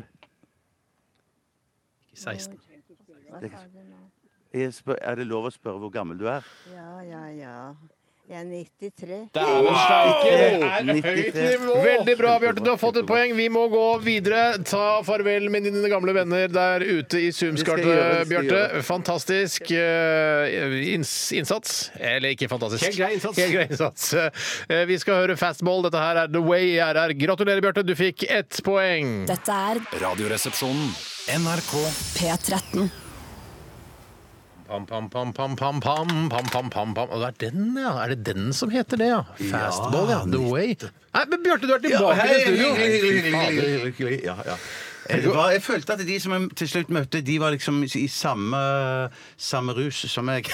Hva sa du nå?
Jeg spør, er det lov å spørre hvor gammel du er?
Ja, ja, ja. Jeg er 93.
Dæven steike! Det er høyt
93.
nivå!
Veldig bra, Bjarte. Du har fått et poeng. Vi må gå videre. Ta farvel med dine gamle venner der ute i
Det skal jeg gjøre,
Zoom-skartet,
det skal jeg
Bjarte. Fantastisk eh, inns innsats. Eller ikke fantastisk.
Helt grei innsats.
Helt grei innsats. Eh, Vi skal høre fastball. Dette her er The Way i RR. Gratulerer, Bjarte. Du fikk ett poeng.
Dette er
Radioresepsjonen. NRK
P13.
Pam, pam, pam, pam, pam, pam, pam, pam, pam, pam. Og det er den, ja. Er det den som heter det, ja? Fastball, ja. The Way. Nei, men Bjarte, du er
Ja,
tilbake
hei,
i studio.
hyggelig, hyggelig, hyggelig, hyggelig, hyggelig. Ja, ja. Det var, jeg følte at de som jeg til slutt møtte, de var liksom i samme, samme rus som meg.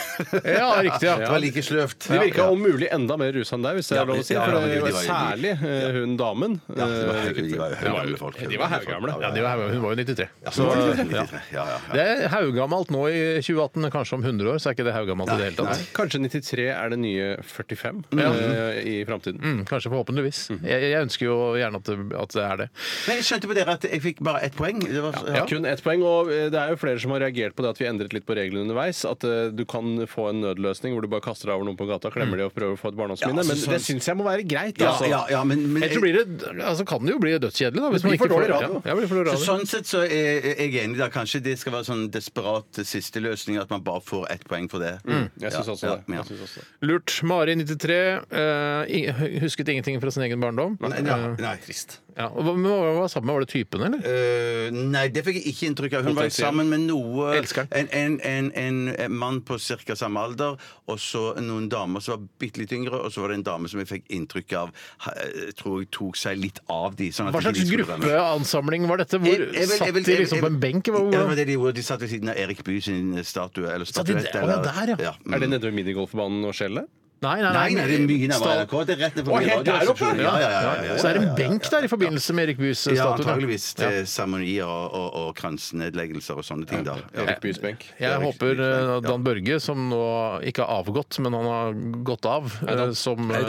Ja, riktig, ja.
Det var like sløvt.
De virka om mulig enda mer rusa enn deg, hvis det
Ja,
er lov å si.
ja, ja,
For
de-
det
de
var
var-
særlig eh, hun damen.
Ja, de var høy- de var
eh,
høygamle folk.
De var haugamle.
Ja, de var, hun var jo 93.
Så, ja, ja, ja.
Det er haugammelt nå i 2018, kanskje om 100 år så er ikke det haugammelt i det hele tatt.
Kanskje 93 er det nye 45
Mm.
eh, i framtiden.
Mm, kanskje forhåpentligvis.
Mhm.
Jeg, jeg ønsker jo gjerne at det, at det er det.
Men jeg skjønte på dere at jeg fikk bare ett poeng. Det var,
Ja. Kun ett poeng, og eh, det er jo flere som har reagert på det at vi endret litt på reglene underveis. At eh, du kan få en nødløsning hvor du bare kaster deg over noen på gata, klemmer de og prøver å få et
Mm. Ja,
barndomsminne.
altså,
Men
sånn-
det syns jeg må være greit.
Ja,
altså.
ja, ja, men, men
Jeg tror blir det, altså kan det jo bli dødskjedelig, da. Hvis
Det blir
man ikke
for dårlig
får-
radio.
Ja, ja, det blir for dårlig
Så
radio.
sånn sett så er er jeg enig. da Kanskje det skal være sånn desperat siste løsning, at man bare får ett poeng for det.
Mm.
Jeg syns
Ja,
også,
ja,
det.
ja.
Jeg synes også det.
Lurt. Mari, 93, eh, ing- husket ingenting fra sin egen barndom.
Nei, ja,
Eh,
nei. Trist.
ja. og Hva, men hva var det sammen med? Var det typen, eller?
Øh, nei, det fikk jeg ikke inntrykk av. Hun var jo
Potensiell.
sammen med noe
Elsker.
en, en, en, en, en mann på ca. samme alder, og så noen damer som var bitte litt yngre, og så var det en dame som jeg fikk inntrykk av ha- jeg tror jeg tok seg litt av de. sånn at
Hva
ikke de
slags
skulle være med.
gruppeansamling var dette? Hvor
Jeg- jeg vil- jeg
satt
vil-
de
jeg-
liksom på en
jeg-
benk?
Ja, det var
Hvor,
det de gjorde. De satt ved siden av Erik Bye sin statue. Eller
Satt de der?
statuett,
Å,
eller-
ja, der, ja.
mm.
Er det nede ved minigolfbanen og skjellet?
nei,
Nei, nei, det er mye nærmere NRK. Det er rett ned forbi
Å, helt der oppe?
radioresepsjonen. Ja, ja, ja, ja, ja,
Så er det en
ja, ja,
benk
ja.
der i forbindelse med Erik Byes statue.
Ja,
da.
antageligvis til seremonier og, og, og kransnedleggelser og sånne ting. da ja.
Erik Byes benk.
Jeg
Det er
håper
riktig,
eh,
ja.
Dan Børge, som nå ikke har avgått, men han har gått av eh, som eh,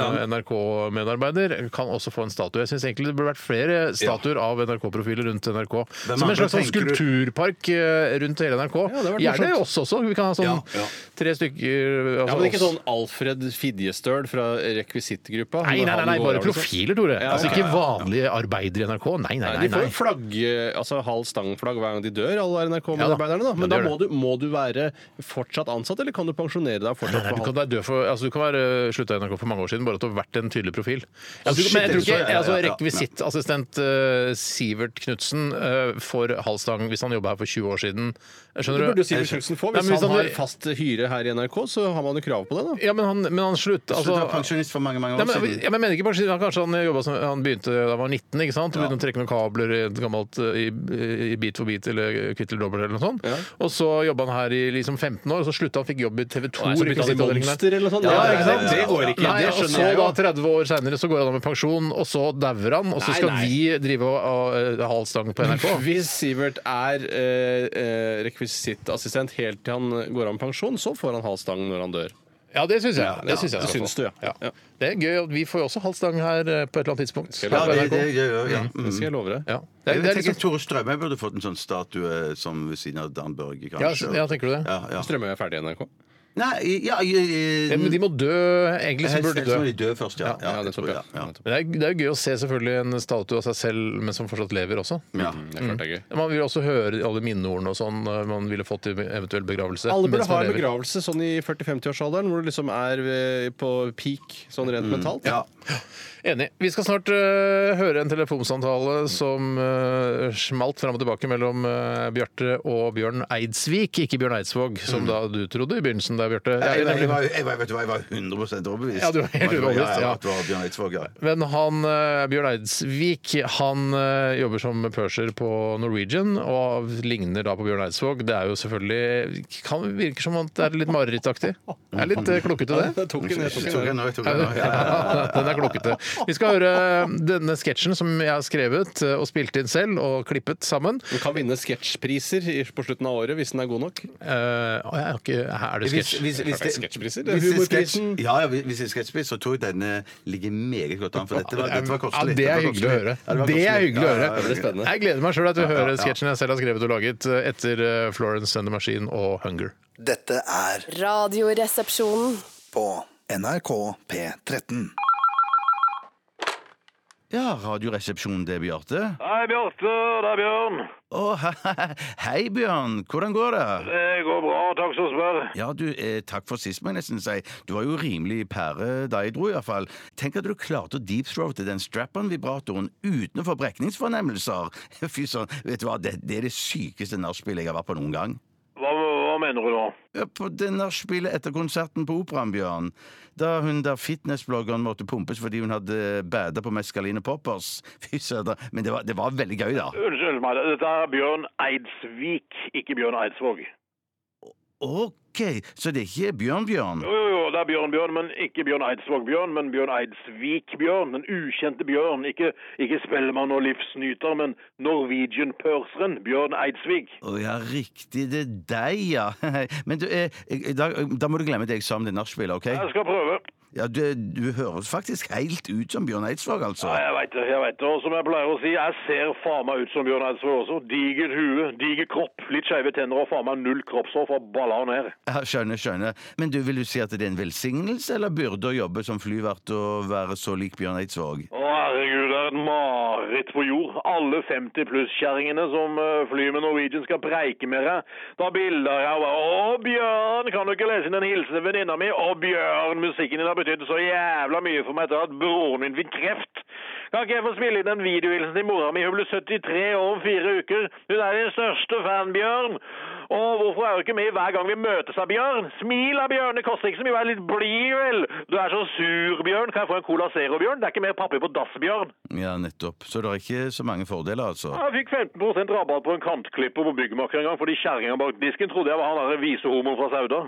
NRK-medarbeider, kan også få en statue. Jeg syns egentlig det burde vært flere statuer av NRK-profiler rundt NRK. Som
andre
en slags sånn
tenker du-
skulpturpark eh, rundt hele NRK.
det hadde vært
Gjerne
morsomt.
oss også. Vi kan ha sånn
Ja, ja.
tre stykker altså
Ja, men ikke
oss.
sånn Alfred Fidjestøl fra
Nei,
rekvisittgruppa? Når
nei, nei,
han
nei,
går
bare
av, liksom.
profiler, Tore.
Ja,
altså
ok,
Ikke vanlige arbeidere i NRK. Nei, nei,
Nei,
nei.
de får jo
nei.
flagge, altså halv stang-flagg hver gang de dør, alle NRK-medarbeiderne. da.
Ja, det
Men da
gjør
må du, må du være fortsatt ansatt, eller kan du pensjonere deg og
Nei,
fortsatt
nei, du
på
kan
halv
være død for Altså, du kan være slutta i NRK for mange år siden, bare at du har vært en tydelig profil. Jeg tror,
shit,
men jeg tror
det er så- ja,
ikke
ja,
altså,
ja, ja.
rekvisittassistent eh, Sivert Knutsen uh, får halv stang hvis han jobba her for 20 år siden.
Det
Skjønner
burde
du?
jo Sivert Knutsen få.
Nei,
Hvis
men hvis
han
han-
har fast hyre her i NRK, så har man jo krav på det, da.
Ja, men han, men han slutt,
Altså,
altså,
du var pensjonist for mange mange
Nei,
år
men,
siden.
ja, men jeg mener ikke bare siden han kanskje han, jobbet som, han begynte da han var 19, ikke sant? Og begynte å trekke noen kabler i, et gammelt, eh, i, i Beat for beat eller Kvitt eller dobbelt eller noe sånt. Og så jobba han her i liksom 15 år, og så slutta han, fikk jobb i TV 2.
Nei, så bytta han i Monster eller sånn? noe sånt.
Ja,
Det-
ikke sant?
Det går ikke.
Nei,
Det
og
skjønner
så
jeg
da
jo.
30 år senere så går han av med pensjon, og så dauer han, og så
Nei,
skal
nei.
vi drive og, og, og halv stang på NRK.
Hvis Sivert er eh, eh, rekvisittassistent helt til han går av med pensjon, så får han halv stang når han dør.
Ja, det syns jeg. det syns jeg.
det syns du, ja. Ja.
Det er gøy. og Vi får jo også halvstang her eh, på et eller annet tidspunkt.
Skal
Ja,
Her på
det,
NRK.
det, det, ja, ja.
Det skal jeg love deg.
Mhm. Ja. Det er,
Jeg
det er
tenker
liksom
Tore Strømøy burde fått en sånn statue som ved siden av Dan Børge,
ja,
kanskje.
ja, tenker du det?
Ja, ja.
Strømøy er ferdig i NRK.
Nei, ja, i- i-
Ja, men de må dø, egentlig så
Helst,
burde de
helst må de
dø.
dø først, ja.
Ja,
jeg
nettopp.
tror,
Ja.
ja.
Nettopp.
Men det er, det er jo gøy å se selvfølgelig en statue av seg selv, men som fortsatt lever også.
Ja.
Det er klart det er gøy.
Man vil også høre alle minneordene og sånn eh, man ville fått i eventuell begravelse.
Alle burde
mens man
ha en
lever.
begravelse sånn i 40-50-årsalderen, hvor du liksom er eh, på peak sånn rent
Mm.
mentalt.
Ja.
Enig. Vi skal snart eh, høre en telefonsamtale som eh, smalt fram og tilbake mellom eh, Bjarte og Bjørn Eidsvik, ikke Bjørn Eidsvåg, som da du trodde i begynnelsen der, Bjarte.
Jeg,
Mm. Ja,
var- jeg, var- jeg, var- vet du hva, jeg var 100 overbevist.
Ja, du var helt
At det
overbevist,
ja,
ja.
at det var Bjørn Eidsvåg, ja.
Men han, eh, Bjørn Eidsvik han eh, jobber som purser på Norwegian og ligner da på Bjørn Eidsvåg. Det er jo selvfølgelig kan, Virker som at det er litt marerittaktig. Det er litt eh, klukkete, det.
Jeg tok den, jeg tok den.
Jeg tok en nå, jeg tok en nå, ja.
Den er klukkete. Vi skal høre eh, denne sketsjen som jeg har skrevet eh, og spilt inn selv og klippet sammen.
Den kan vinne sketsjpriser i- på slutten av året hvis den er god nok.
Eh, å, jeg har ikke, her er det
Hvis,
sketsj.
hvis, hvis
Det er
det
sketsjpriser. Det
hvis
er
det er
humorprisen.
sketsj- ja, ja, hvis det er sketsjpris, så tror jeg denne ligger meget godt an. For dette var, dette var kostelig.
Ja, det
Dette
er
var
hyggelig å
kostelig.
høre.
Ja, var
Det er
kostelig.
hyggelig å
Ja,
høre.
ja, ja.
Det blir spennende.
Jeg gleder meg sjøl til å høre sketsjen jeg selv har skrevet og laget eh, etter eh, Florence and the Machine og Hunger.
Dette er
Radioresepsjonen.
på NRK P13.
Ja, Radioresepsjonen, det er Bjarte.
Hei, Bjarte. Det er Bjørn.
Å, *laughs* hei, Bjørn. Hvordan går det?
Det går bra, takk som spør.
Ja, du, eh, Takk for sist, må jeg nesten si. Du var jo rimelig i pære da jeg dro, iallfall. Tenk at du klarte å deep-throate den strap-on-vibratoren uten å få brekningsfornemmelser. *laughs* Fy søren, vet du hva, det, det er det sykeste nachspielet jeg har vært på noen gang.
Hva, hva mener du nå?
Ja, på det nachspielet etter konserten på Operaen, Bjørn. Da hun der fitnessbloggeren måtte pumpes fordi hun hadde bada på Mescaline Poppers. *laughs* Fy søren, men det var, det var veldig gøy, da.
Unnskyld meg, dette er Bjørn Eidsvik, ikke Bjørn Eidsvåg.
Ok, så det er ikke Bjørn-Bjørn?
Jo, jo, jo, det er Bjørn Bjørn, men ikke Bjørn Eidsvåg Bjørn, men Bjørn Eidsvik Bjørn. Den ukjente Bjørn. Ikke, ikke Spellemann og livsnyter, men Norwegian-purseren Bjørn Eidsvik.
Å ja, riktig, det er deg, ja. *laughs* Men du, eh, da, da må du glemme det jeg sa om det nachspielet,
Jeg
ok?
skal prøve.
Ja, du, du høres faktisk helt ut som Bjørn Eidsvåg, altså.
Ja, jeg veit det. jeg vet det. Og som jeg pleier å si, jeg ser faen meg ut som Bjørn Eidsvåg også. Digert hue, diger kropp, litt skeive tenner og faen meg null kroppshår fra balla og ned.
Ja, skjønner, skjønner. Men du, vil du si at det er en velsignelse, eller byrde å jobbe som flyvert og være så lik Bjørn Eidsvåg?
Å, herregud, det er et mareritt på jord. Alle 50 pluss-kjerringene som eh, flyr med Norwegian skal preike med deg. Ta bilder her og bare Å, Bjørn, kan du ikke lese inn en hilsen til venninna mi? Å, Bjørn, musikken din har betydd så jævla mye for meg etter at broren min fikk kreft. Kan ikke jeg få spille inn en videohilsen til mora mi? Hun ble 73 år om fire uker. Hun er din største fan, Bjørn. Å, hvorfor er du ikke med hver gang vi møtes, da, Bjørn? Smil da, Bjørn. Det koster ikke så mye å være litt blid, vel. Du er så sur, Bjørn. Kan jeg få en Cola Zero, Bjørn? Det er ikke mer papir på dass, Bjørn.
Ja, nettopp. Så det er ikke så mange fordeler, altså.
Jeg fikk 15 rabatt på en kantklipper på byggmaker en gang fordi kjerringa bak disken trodde jeg var han derre visehomoen fra Sauda.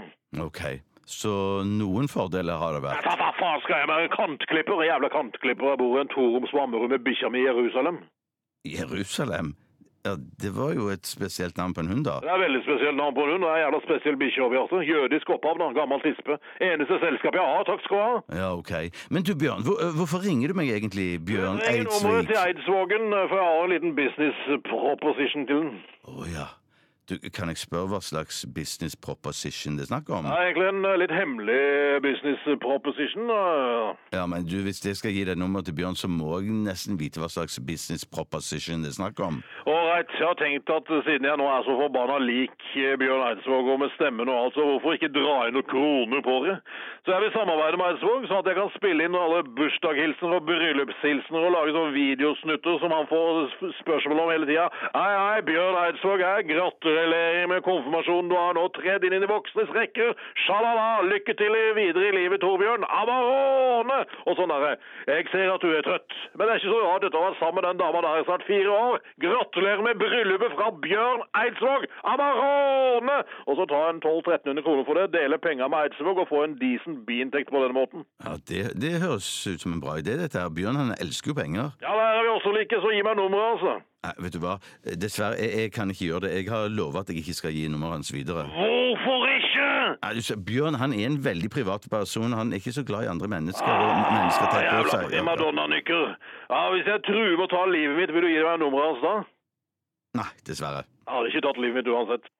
Ok, så noen fordeler har det vært.
Hva hva faen skal jeg med en kantklipper? Jævla kantklipper. Jeg bor i en toroms mammerom med bikkja mi i Jerusalem.
Jerusalem? Ja, det var jo et spesielt navn på en hund, da.
Det er veldig spesielt navn på en hund. og Det er en jævla spesiell bikkje, Bjarte. Jødisk opphav, da. Gammel tispe. Eneste selskap jeg har. Takk skal du ha.
Ja, ok. Men du, Bjørn, hvor, eh, hvorfor ringer du meg egentlig, Bjørn
Jeg ringer nummeret
Eidsvik?
til Eidsvågen, eh, for jeg har en liten business proposition til den.
Å ja. Du, kan jeg spørre hva slags business proposition det er snakk om?
Det er egentlig en eh, litt hemmelig business proposition. eh.
Ja, men du, Hvis jeg skal gi deg nummeret til Bjørn, så må jeg nesten vite hva slags business proposition det er snakk om.
Ålreit, jeg har tenkt at eh, siden jeg nå er så forbanna lik eh, Bjørn Eidsvåg og med stemmen og alt, så hvorfor ikke dra inn noen kroner på det? Så jeg vil samarbeide med Eidsvåg, sånn at jeg kan spille inn alle bursdagshilsener og bryllupshilsener og lage sånne videosnutter som han får sp- spørsmål om hele tida. Hei, hei, Bjørn Eidsvåg her, gratulerer med konfirmasjonen. Du har nå tredd inn i de voksnes rekker. Sjalala, lykke til i- videre i livet, Torbjørn. Amarone! Og sånn derre. Jeg ser at du er trøtt, men det er ikke så rart etter å ha vært sammen med den dama der i snart fire år. Gratulerer med bryllupet fra Bjørn Eidsvåg! Amarone! Og så ta en 1200-1300 kroner for det, dele penga med Eidsvåg og få en decent biinntekt på den måten.
Ja, Det, det høres ut som en bra idé, dette her. Bjørn han elsker jo penger.
Ja, der er vi også like, så gi meg nummeret, altså.
Nei, vet du hva, dessverre, jeg, jeg kan ikke gjøre det. Jeg har lovet at jeg ikke skal gi nummeret hans videre.
Hvorfor ikke?
ikke!
Nei, du ser, Bjørn han er en veldig privat person. Han er ikke så glad i andre mennesker. og mennesker tar
Ah,
på
Jævla
seg. Ja, ja.
primadonna-nykker. Ja, hvis jeg truer med å ta livet mitt, vil du gi meg nummeret hans da?
Nei, dessverre.
Jeg hadde ikke tatt livet mitt uansett.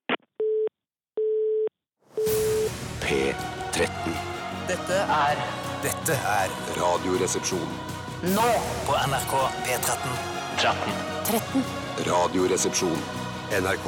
P13.
Dette er
Dette er Radioresepsjonen.
nå på NRK P13. 13.
13. Radioresepsjon. NRK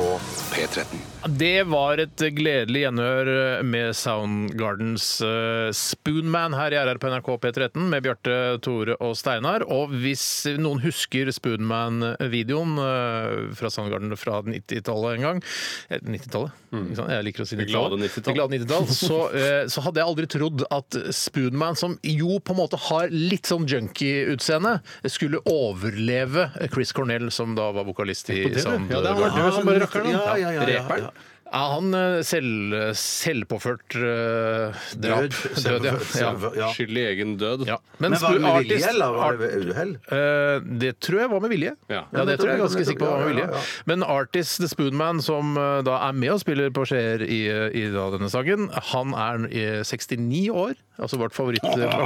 P13.
Det var et gledelig gjenhør eh, med Soundgardens eh, Spoonman her i RR på NRK P13 med Bjarte, Tore og Steinar. Og hvis noen husker Spoonman-videoen eh, fra Soundgarden fra 90-tallet en gang eh, 90-tallet? Ikke sant? Jeg liker å si
Mm. Det glade
90-tallet. Det glade 90-tall. Så,
*laughs*
eh, så hadde jeg aldri trodd at Spoonman, som jo på en måte har litt sånn junkie-utseende, skulle overleve Chris Cornell, som da var vokalist i
det, du.
Sound.
Ja, det var du som bare rakker den.
Ja,
Ja, ja, ja, ja.
Reperen. Ja, han eh, selv, selvpåført eh, drap.
Død,
*laughs* Død, ja.
selvpåført,
ja.
ja. Skyld i egen død.
Ja.
Men
Men
var det med
artist-
vilje, eller var det
art- Eh, det tror jeg var med vilje. Ja, det
nettopp,
tror jeg er ganske
nettopp,
sikker på var med
ja, ja,
vilje. Men Artist The Spoonman, som eh, da er med og spiller på Skjeer i, eh, i da, denne sangen, han er eh, 69 år, altså vårt *laughs* favoritt,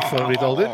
favorittalder,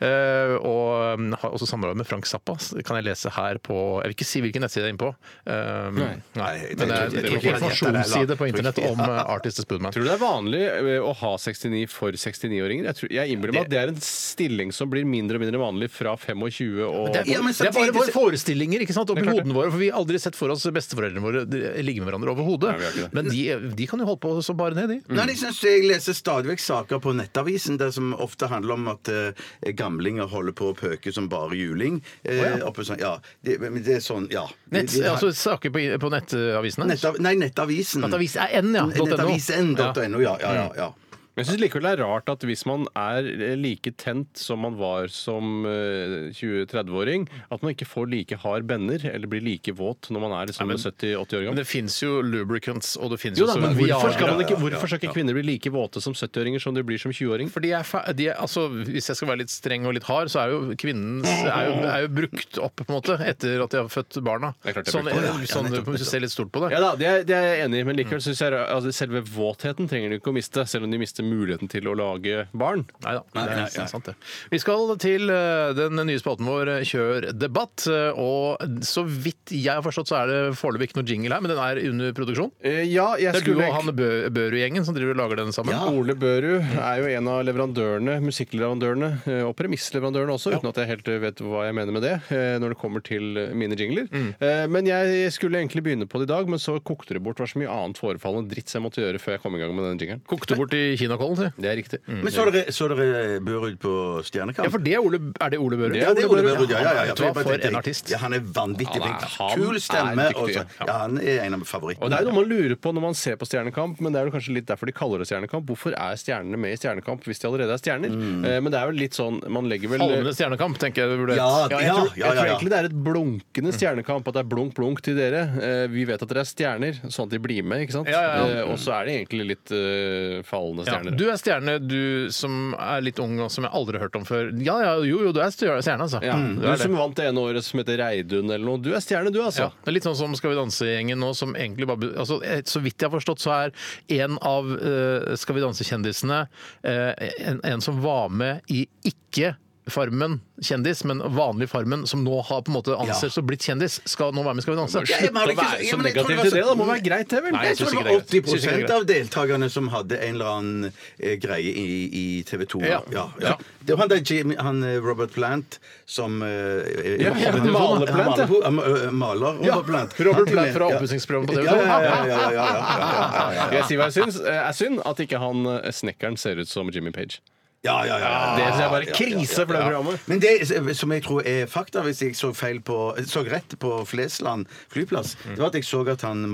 eh, og um, har også samarbeid med Frank Zappa. Så Det kan jeg lese her på Jeg vil ikke si hvilken nettside jeg er inne på. Um,
Nei.
nei,
jeg
men det
tror ikke-
er, det
jeg tror
er
ikke
en informasjonsside på
*laughs*
internett om eh, Artist The Spoonman.
Tror du det er vanlig eh, å ha 69 for 69-åringer? Jeg, tror- jeg innbiller meg at det er en stilling som blir mindre og mindre vanlig fra 25 og
Det er, det er bare våre forestillinger ikke sant, oppi hodene våre. For vi har aldri sett for oss besteforeldrene våre de- ligge med hverandre overhodet. Men de, de kan jo holde på som bare ned, de.
Nei, jeg, synes jeg leser stadig vekk saker på Nettavisen der som ofte handler om at eh, gamlinger holder på å pøke som bare juling. Eh, oppe sånn, ja. Det, men det er sånn, ja.
Nett,
De- de-
altså saker på, på nettavisene?
Nettav, nei, Nettavisen.
Nettavis er N, ja. .no.
Nettavisen.no, ja. ja, ja, ja.
Men jeg syns likevel det er rart at hvis man er eh, like tent som man var som eh, 20-30-åring, at man ikke får like hard benner eller blir like våt når man er liksom 70-80 år
Men
gammel.
det fins jo lubricants, og det fins jo
Jo da, men
Viagra.
hvorfor skal, man ikke,
Ja, ja, ja.
hvorfor skal ikke kvinner bli like våte som 70-åringer som de blir som 20-åring?
For de er fa- de er, altså, hvis jeg skal være litt streng og litt hard, så er jo kvinnen er jo, er jo brukt opp på en måte etter at de har født barna.
Det er klart det er
Sånn,
brukt opp, ja. Ja,
sånn,
nettopp,
Hvis du ser litt stort på det.
Ja da, det er, det er jeg enig i, men likevel synes jeg altså, selve våtheten trenger de ikke å miste, selv om de mister muligheten til å lage barn.
Nei da, det er sant det. Vi skal til eh, den nye spalten vår eh, Kjør debatt. eh, Og så vidt jeg har forstått, så er det foreløpig ikke noe jingle her, men den er under produksjon.
Eh, Ja, jeg
Det er du og
skulle
han Bø Børud-gjengen som driver og lager den sammen.
Ole Børud er jo en av leverandørene, musikkleverandørene eh, og premissleverandørene også, uten at jeg helt eh, vet hva jeg mener med det eh, når det kommer til mine jingler. Eh, Men jeg skulle egentlig begynne på det i dag, men så kokte det bort. Det var så mye annet forefallende dritt som jeg måtte gjøre før jeg kom i gang med den jingeren.
Kokte bort i kinakollen, sier
Det er riktig.
Men så dere, så dere Børud på Stjernekamp?
Ja, for det er, Ole, er det Ole Børud?
Ja, det er Ole Børud. Ja, ja, ja,
Vet du hva,
jeg bare
For
tenkte-
en artist.
Ja, han er vanvittig
Han er-
flink.
han er
Kul stemme.
dyktig,
og så-
ja.
ja, han er en av favorittene.
Og det er jo noe man lurer på når man ser på Stjernekamp, men det er jo kanskje litt derfor de kaller det Stjernekamp. Hvorfor er stjernene med i Stjernekamp hvis de allerede er stjerner?
Mm.
Eh, Men det er vel litt sånn Man legger vel
Falmende stjernekamp, tenker jeg det burde
Ja,
hett.
ja, jeg,
ja,
tror,
ja,
jeg tror
ja.
egentlig det er et blunkende stjernekamp. At det er blunk, blunk til dere. Eh, Vi vet at dere er stjerner, sånn at de blir med. ikke sant?
Ja, ja, ja.
Eh, Og så er de egentlig litt eh, fallende
Ja,
stjerner.
du er stjerne, du som er litt ung og som jeg aldri har hørt om før. Ja, ja, jo, jo, du er stjerne, altså.
Ja.
Mm,
du
er det.
som vant det ene året som heter Reidun eller noe. Du er stjerne, du,
Ja,
altså.
det er litt sånn som Skal vi danse-gjengen nå, som egentlig bare be- altså, eh, Så vidt jeg har forstått, så er en av eh, Skal vi danse-kjendisene eh, en, en som var med i ikke Farmen kjendis, men vanlig Farmen, som nå har på en måte ansett som blitt kjendis, skal nå være med i Skal vi danse.
Ja, jeg må
Slutt å
ikke-
være
ja,
så
men jeg tror
negativ
det var
til det, da. Må være greit, det, vel?
Nei,
Jeg
jeg
tror
synes ikke
det
det
var
er greit. Jeg synes ikke det er
80 av deltakerne som hadde en eller annen eh, greie i, i TV 2.
Ja. Ja.
Det var han der Jim, han eh, Robert Plant som eh, eh,
Ja,
han-
Robert Plant,
han-
ja.
maler- han- eh, Maler Robert
Ja,
Plant.
Robert
Han til
Plant
og med-
fra
ja.
oppussingsprogrammet på TV2.
Ja, ja, ja, ja, ja, ja, ja, ja, ja, ja.
*laughs* Jeg sier hva jeg syns. Eh, er synd at ikke han eh, snekkeren ser ut som Jimmy Page.
Ja, ja, ja, ja.
Det synes jeg
Ja,
bare
ja,
krise for det
ja.
programmet.
Men det som jeg tror er fakta, hvis jeg så feil på Så rett på Flesland flyplass, det var at jeg så at han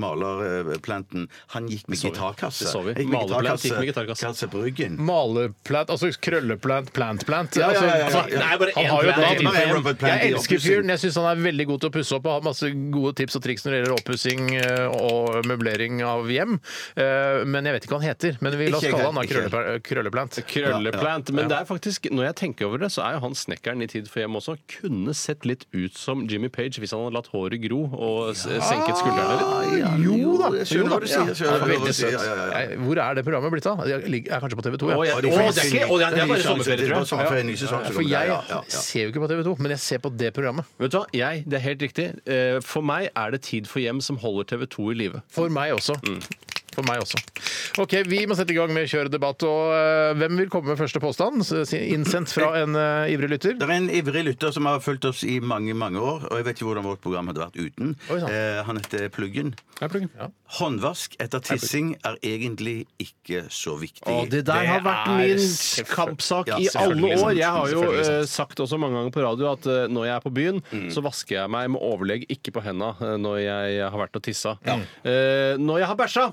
malerplanten Han gikk med
så vi.
gitarkasse.
Mm. Det så vi.
Gikk med
Malerplant gikk med gitarkasse.
kasse på ryggen.
Maleplant, altså krølleplant, plantplant.
Ja, ja, ja, ja, ja.
Altså,
Nei, bare
han
én
har jo
plant.
da
Det er bare Robert Plant i
Jeg elsker
oppussing.
fyren. Jeg syns han er veldig god til å pusse opp og har masse gode tips og triks når det gjelder oppussing eh, og møblering av hjem. Eh, Men jeg vet ikke hva han heter. Men vi la oss
Ikke
kalle han da
helt, ikke
krøllepa- krølleplant.
Krølleplant. sant. Men det er faktisk, når jeg tenker over det, så er jo han snekkeren i Tid for hjem også kunne sett litt ut som Jimmy Page hvis han hadde latt håret gro og s- senket skuldrene litt.
Ja,
Jo da!
jeg Ah, skjønner hva du sier, jeg
Ja,
skjønner hva du
veldig
sier,
søtt.
ja, ja, ja.
Nei, Hvor er det programmet blitt av? Jeg ligger- jeg er kanskje på TV 2.
Å, jeg- Å, det er ikke- å, det er- det er bare sommerferie, tror jeg.
Sommerferie, ny sesong,
For
sommerferie, ja, ja,
jeg
ja.
ser jo ikke på TV 2, men jeg ser på det programmet.
Vet du hva, jeg, Det er helt riktig. Eh, For meg er det Tid for hjem som holder TV 2 i live.
For meg også. For meg også. Ok, Vi må sette i gang med kjøredebatt. Og eh, hvem vil komme med første påstand? S- Innsendt fra en eh, ivrig lytter.
Det er en ivrig lytter som har fulgt oss i mange mange år, og jeg vet ikke hvordan vårt program hadde vært uten.
Oi, sant.
Eh, han heter Pluggen.
Ja.
Håndvask etter tissing er egentlig ikke så viktig.
Og det der har vært
er
min
selvfø-
kampsak
Ja,
i alle
selvfølgelig
år.
sant,
Jeg har jo
selvfølgelig sant.
eh, sagt også mange ganger på radio at eh, når jeg er på byen, så vasker jeg meg med overlegg, ikke på henda, eh, når jeg har vært og tissa. Eh, når jeg har bæsja,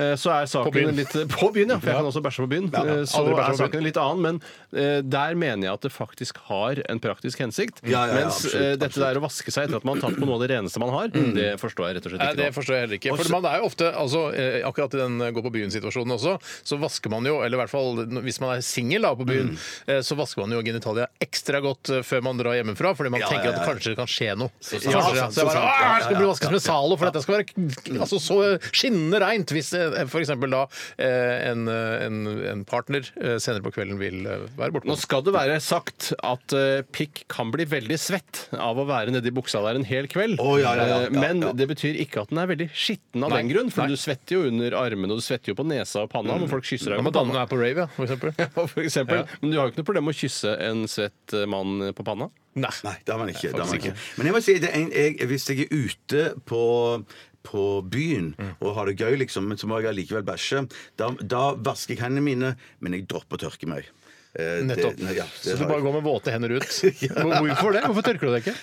eh, så er saken
byen.
litt eh, På byen, ja. For jeg kan også bæsje på byen. Eh, Så
Aldri bæsje
er
på byen.
saken litt annen, men eh, der mener jeg at det faktisk har en praktisk hensikt.
Ja, ja, ja,
mens
absolutt,
eh, dette der å vaske seg etter at man har tatt på noe av det reneste man har, det forstår jeg rett og slett
Nei,
ikke.
det
nå.
forstår jeg heller ikke. For man er jo ofte, altså, eh, akkurat i den eh, gå på byen-situasjonen også, så vasker man jo, eller i hvert fall n- hvis man er singel da, på byen,
Mm.
eh, så vasker man jo genitalia ekstra godt eh, før man drar hjemmefra, fordi man
Ja,
tenker
ja,
at
ja.
kanskje det kan skje noe. Så,
sant,
kanskje,
sant,
så jeg
sant,
bare,
sant, ja,
«Åh, det skal bli
ja, Mm.
vasket som en Zalo, for dette skal være altså, så skinnende rent hvis eh, for eksempel da eh, en, eh, en, en partner eh, senere på kvelden vil eh, være borte.
Nå skal det være sagt at eh, pikk kan bli veldig svett av å være nedi buksa der en hel kveld.
Å, ja, ja, ja,
Eh,
ja,
men
ja.
det betyr ikke at den er veldig skitten av
Nei,
den grunn, for
nei.
du svetter jo under armene og du svetter jo på nesa og panna når folk kysser deg
Når
på
Madonna
panna.
er på rave, ja, for
*laughs*
eksempel.
For eksempel. Men du har jo ikke noe problem med å kysse en svett eh, mann på panna?
Nei.
Nei, det har man ikke. det har man
faktisk
ikke. Men jeg må si, det er en, jeg, hvis jeg er ute på på byen
Mm.
og har det gøy, liksom, men så må jeg allikevel bæsje. Da, da vasker jeg hendene mine, men jeg dropper å tørke meg. Eh, det-
Nettopp.
nei, ja, det
så du
har
bare
jeg.
går med våte hender ut. Hvor- Hvorfor det? Hvorfor tørker du deg ikke?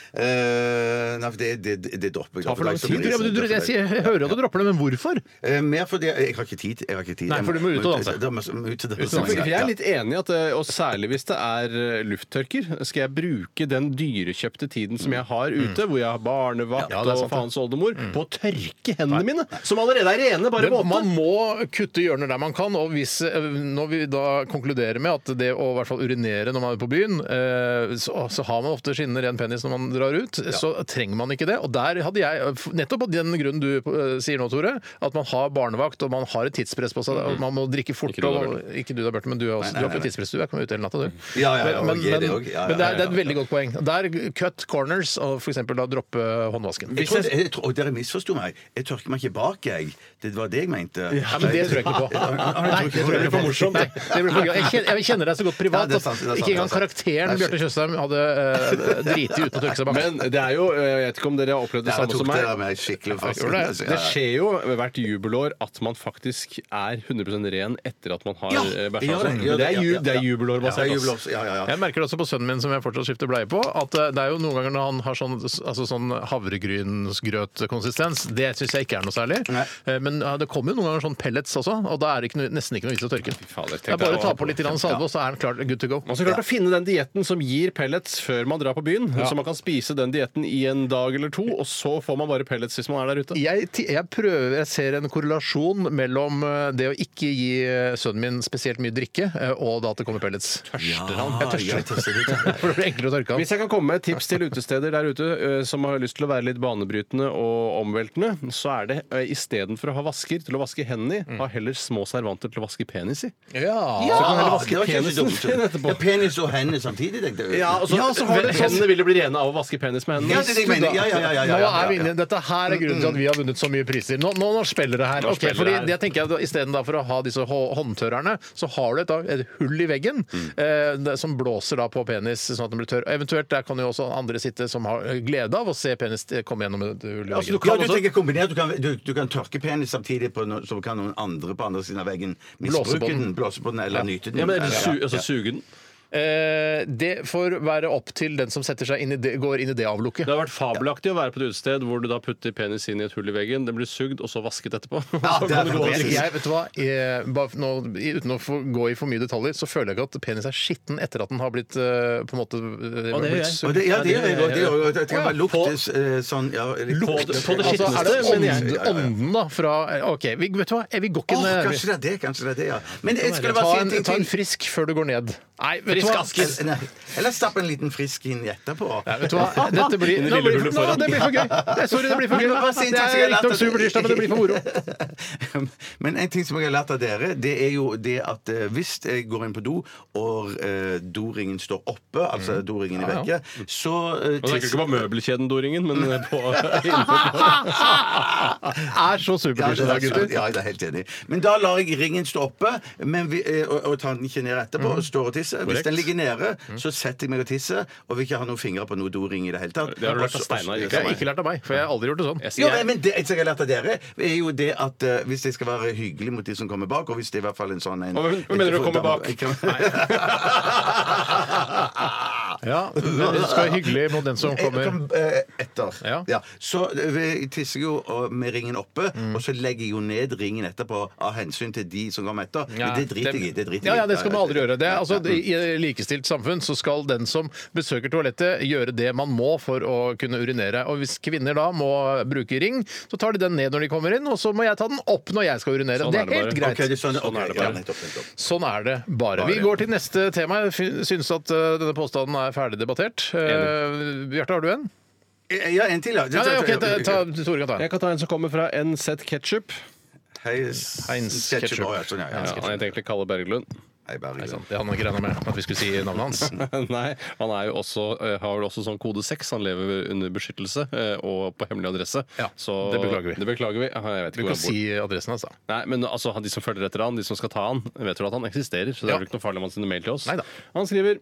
Eh, nei, for det, det, det, det dropper jeg.
Ta for lang
Dropper
tid.
deg,
Ja,
så-
men du,
dropper
jeg,
deg.
sier, jeg hører at du dropper det, men hvorfor?
Eh, Mer fordi jeg, jeg har ikke tid. Jeg har ikke tid.
Nei, for du må ut og danse.
Da må jeg- må ut og danse.
For for jeg er litt enig i at, eh, og særlig hvis det er eh, lufttørker, skal jeg bruke den dyrekjøpte tiden som jeg har ute, hvor jeg har barnevakt
Ja, det er sant,
og
det.
faens oldemor, på å tørke hendene mine, som allerede er rene, bare
Men
våte.
man må kutte hjørner der man kan. Og hvis, eh, når vi da konkluderer med at det å i hvert fall urinere når man er på byen, eh, så, så har man ofte skinnende ren penis når man drar ut, så trenger man ikke det. Og der hadde jeg, eh, f- nettopp av den grunnen du eh, sier nå, Tore, at man har barnevakt og man har et tidspress på seg, og
Mm-hmm.
man må drikke fort.
Ikke du da,
og, ikke du da, Bjarte, men du er også du har ikke tidspress. Du er kommet ut hele natta, du.
Ja, ja, ja,
men
og
men,
jeg
men,
det også. Ja, ja,
men det, er, det
ja,
er et veldig godt poeng. Der cut corners, og f.eks. da droppe håndvasken.
Jeg trodde, jeg, tror- og dere misforsto meg. Jeg tørker meg ikke bak, jeg. Det var det jeg mente.
*laughs* Ja, men det tror jeg ikke på.
Ja, ja, ja,
Nei, det
jeg tror ikke på
tror jeg
det.
blir for morsomt. Nei, det blir for gøy. Jeg kjenner- Jeg kjenner deg så godt
Ja,
privat
det
at
er sant, det er sant,
ikke engang
det er sant.
karakteren Bjarte Tjøstheim hadde eh, driti uten å tørke seg bak.
Men det er jo, eh, jeg vet ikke om dere har opplevd det
Ja, da
samme
tok
som
dere
meg.
meg skikkelig fast.
Gjorde det?
Altså, ja,
Det
ja.
skjer jo ved hvert jubelår at man faktisk er 100 ren etter at man har
Ja,
eh,
det
bæsja.
gjør
altså.
det, gjør
Men Det er,
det,
ju-
ja, ja.
det er
Ja,
jubelårbassert.
jeg jubler
altså.
også. Ja, ja, ja.
Jeg merker det også på sønnen min, som jeg fortsatt skifter bleie på, at eh, det er jo noen ganger når han har sånn, altså sånn havregrynsgrøtkonsistens. Det syns jeg ikke er noe særlig.
Nei.
Eh, Men eh, det kommer jo noen ganger sånn pellets også, og da er det ikke, noe- nesten ikke noe vits i å tørke. den.
fader,
Det
tenk
er bare
deg
å
å
ta
ha
på litt grann salve, og så er den klar, good to go.
Man skal klart å finne den dietten som gir pellets før man drar på byen.
Ja.
Så man kan spise den dietten i en dag eller to, og så får man bare pellets hvis man er der ute.
jeg, ti- jeg prøver, jeg ser en korrelasjon mellom eh, det å ikke gi eh, sønnen min spesielt mye drikke, eh, og da at det kommer pellets. Tørster
Ah,
han? Jeg
*laughs*
tørster. For det blir enklere å tørke
Hvis
han.
jeg kan komme med et tips til utesteder der ute eh, som har lyst til å være litt banebrytende og omveltende, så er det eh, istedenfor å ha vasker til å vaske hendene i,
Mm.
ha heller små servanter til å vaske penis i.
Ja!
kan heller vaske
Ah, det var ikke så
penisen
dumt.
sin etterpå.
Ja, penis og hendene samtidig, tenkte jeg.
*laughs* Ja, og så,
har
hendene
du sånn
ville bli rene av å vaske penis med hendene.
Ja, det er det jeg mener. Ja, ja, ja, ja, ja,
Nå
ja,
er vi
ja,
inne, Dette her er grunnen til at vi har vunnet så mye priser. Nå, nå, nå spiller det her.
Nå
Ok,
spiller
fordi
det her.
jeg tenker at Istedenfor å ha disse hå- håndtørrerne, så har du et, da- et hull i veggen
Mm.
eh, det- som blåser da på penis sånn at den blir tørr. Eventuelt der kan jo også andre sitte som har eh, glede av å se penis eh, komme gjennom et hull i veggen.
Altså, du
Ja,
kan
du
også
tenker kombinert. Du kan, du, du kan tørke penis samtidig, på no, så kan noen andre på andre siden av veggen
Blåse på
misbruke
den.
den, blåse på den eller nyte den.
ja, men, eller
Ja,
su,
ja.
altså, suge den.
Eh, det får være opp til den som setter seg inn i det, går inn i det avlukket.
Det har vært fabelaktig å være på et utested hvor du da putter penis inn i et hull i veggen, den blir sugd og så vasket etterpå. Så
det er
kan du gå *laughs* og
fantastisk.
drikke.
Jeg, vet du hva? Jeg, bare for- nå, uten å få, gå i for mye detaljer, så føler jeg ikke at penis er skitten etter at den har blitt eh, på en måte eh,
Og det
blitt
gjør jeg.
sugd.
Og det, ja, det gjør jeg godt. Det, gjør jeg godt. det kan
Ja,
bare luktes eh, sånn ja,
Lukt på det
Altså, er det
skittneste, mener
ånden,
jeg.
ånden da fra OK, vi, vet du hva? Eh, Vi går ikke
Åh,
ned
kanskje det er det, kanskje det er det, ja. Men jeg skulle
ta
bare
en,
si en ting
ta en
til.
frisk før du går ned. Nei, vet du
Frisk
hva?
askis. Eller, nei, eller stapp en liten frisk inn etterpå.
Nei, vet du
*laughs*
hva? Dette blir, nå blir, nå, det blir for gøy! Nei, sorry, det blir for gøy.
Men bare si en ting
Det
som
er
jeg har
riktignok
lært av-
supertirsdag, men det blir for moro.
*laughs* Men en ting som jeg har lært av dere, det er jo det at eh, hvis jeg går inn på do, og eh, doringen står oppe, altså doringen er
Mm. Ja, ja.
vekke, så eh,
Man tenker
tisser-
ikke på møbelkjeden Doringen, men eh,
*laughs*
på
Er så supertirsdag,
Ja, det er-
gutter.
Ja, jeg er helt enig. Men da lar jeg ringen stå oppe men vi, eh, og, og tar den ikke ned etterpå. og Står og tisser. Hvis
Mm. Korrekt. Mm.
den ligger nede, så setter jeg meg og tisser og vil ikke ha noen fingre på noen doring i det hele tatt.
Det har du lært av
Og så-
Steinar,
og så-
ikke
Det har jeg ikke lært av meg, for jeg har aldri gjort det sånn.
Jo, men- men det jeg har lært av dere, er jo det at eh, hvis jeg skal være hyggelig mot de som kommer bak, og hvis det er i hvert fall en sånn en,
Hva men- hva mener du kommer bak?
Ja, men du skal være hyggelig mot den som
Jeg
kommer.
kom, eh, Etter. Ja.
Ja.
Så eh, vi tisser jo og- med ringen oppe, og så legger jeg jo ned ringen etterpå av hensyn til de som kommer etter.
Ja,
det driter jeg i. Det driter jeg
ja,
i.
ja, det skal man aldri gjøre. Det er, altså,
Nei, nei.
I et likestilt samfunn så skal den som besøker toalettet, gjøre det man må for å kunne urinere. Og hvis kvinner da må bruke ring, så tar de den ned når de kommer inn, og så må jeg ta den opp når jeg skal urinere.
Sånn
det
er
er
det
helt
bare.
greit.
Ok, det er sånn,
Sånn er det
ok, ja,
bare.
nettopp, nettopp.
Sånn er det bare. Vi går til neste tema. Jeg fy- synes at eh, denne påstanden er ferdig debattert. Eh, Bjarte, har du en?
Eh, Ja, en til, ja.
Ja, nei, ok, ta, ta, Tore kan ta en.
*laughs* Jeg kan ta en som kommer fra NZ Ketchup.
Heinz
Heinz
Ketchup.
Ketchup.
Å, ja, sånn, ja, ja.
Ja, han heter egentlig Kalle Berglund.
Hei, Bergen.
Nei, sant. Det hadde man ikke regna med at vi skulle si navnet hans.
*laughs* Nei, han er jo også, eh, har vel også sånn kode 6. Han lever under beskyttelse eh, og på hemmelig adresse.
Ja,
Så-
det beklager vi.
Det beklager vi. Ah, Jeg vet
Du
ikke hvor
kan
han bor.
si adressen hans, da.
Nei, men altså, han- De som følger etter han, de som skal ta han, vet vel at han eksisterer. Så det
Ja.
er vel ikke noe farlig om han sender mail til oss.
Neida.
Han skriver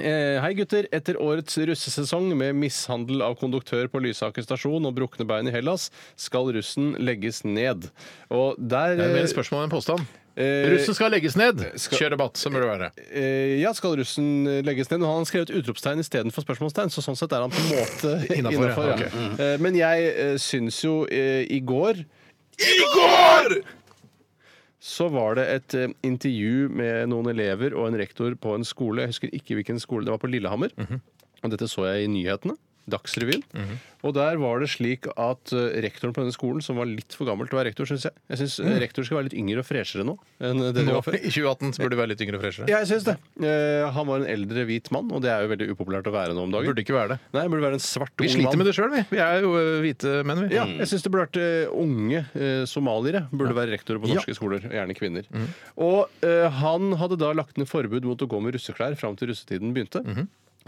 eh, Hei gutter, etter årets russesesong med mishandel av konduktør på Lysaker stasjon og brukne bein i Hellas, skal russen legges ned. Og der
Det er mer et
eh,
spørsmål enn en påstand.
Eh,
Russen skal legges ned!
skal-
Kjør debatt, så bør det være.
Eh, ja, skal russen legges ned? Men Han har skrevet utropstegn istedenfor spørsmålstegn, så sånn sett er han på en måte
*laughs* Innenfor,
innenfor. ja.
ja, ok.
Eh, men jeg eh, syns jo eh, i går så var det et eh, intervju med noen elever og en rektor på en skole. Jeg husker ikke hvilken skole, det var på Lillehammer.
Mhm.
Og dette så jeg i nyhetene. Dagsrevyen. Og der var det slik at eh, rektoren på denne skolen, som var litt for gammel til å være rektor, syns jeg Jeg syns eh, rektor skal være litt yngre og freshere nå enn det de
Mm. Nå,
var før.
I 2018 så burde du være litt yngre og freshere.
Ja, jeg syns det. Eh, han var en eldre hvit mann, og det er jo veldig upopulært å være nå om dagen.
Burde ikke være det.
Nei, burde være en svart
Vi
ung
sliter
mann.
med det sjøl, vi. Vi er jo eh, hvite menn, vi.
Ja, jeg syns det burde vært eh, unge eh, somaliere burde være rektorer på
Ja. Mm.
norske skoler, gjerne kvinner. Og eh, han hadde da lagt ned forbud mot å gå med russeklær fram til russetiden begynte.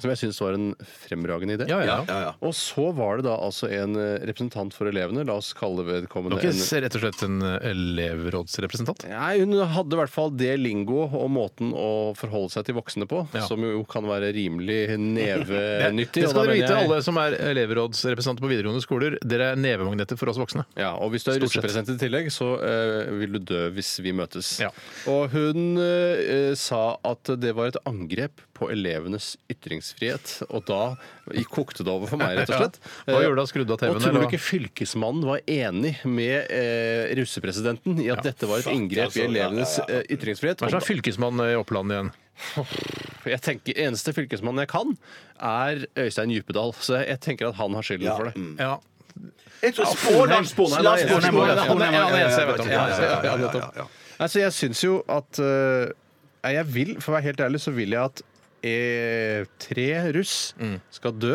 Som jeg syns var en fremragende idé.
Mhm. Ja, ja, ja.
Ja, ja.
Og så var det da altså en eh, representant for elevene, la oss kalle vedkommende
Du er
en
ikke rett og slett en eh, elevrådsrepresentant?
Nei, Hun hadde i hvert fall det lingo og måten å forholde seg til voksne på,
Ja.
som jo kan være
*laughs*
rimelig
Det
nevenyttig. og da
skal dere
mener
vite,
jeg-
alle som er elevrådsrepresentanter på videregående skoler. Dere er nevemagneter for oss voksne.
Ja, og hvis du er
Stort sett.
russepresent i tillegg, så eh, vil du dø hvis vi møtes.
Ja.
Og hun eh, sa at det var et angrep på elevenes ytringsfrihet, og da kokte det over for meg, rett og slett.
*laughs* Ja. Hva gjorde du da? Skrudde du av TV-en,
Og tror
eller
du ikke fylkesmannen var enig med eh, russepresidenten i at dette var et inngrep
altså.
i elevenes eh, ytringsfrihet?
Hva
Og
slags fylkesmann i Oppland igjen?
da- jeg tenker Eneste fylkesmannen jeg kan, er Øystein Djupedal, så jeg, jeg tenker at han har skylden for det.
Ja. Mm.
Jeg tror
Spånheim, Spånheim,
Lars
ja,
Spånheim.
Spånheim,
ja,
Spånheim, ja, ja, jeg vet om.
ja, ja, ja,
Ja,
ja,
nettopp.
ja, ja.
Altså, jeg syns jo at eh, nei, Jeg vil, for å være helt ærlig, så vil jeg at E3 russ skal dø.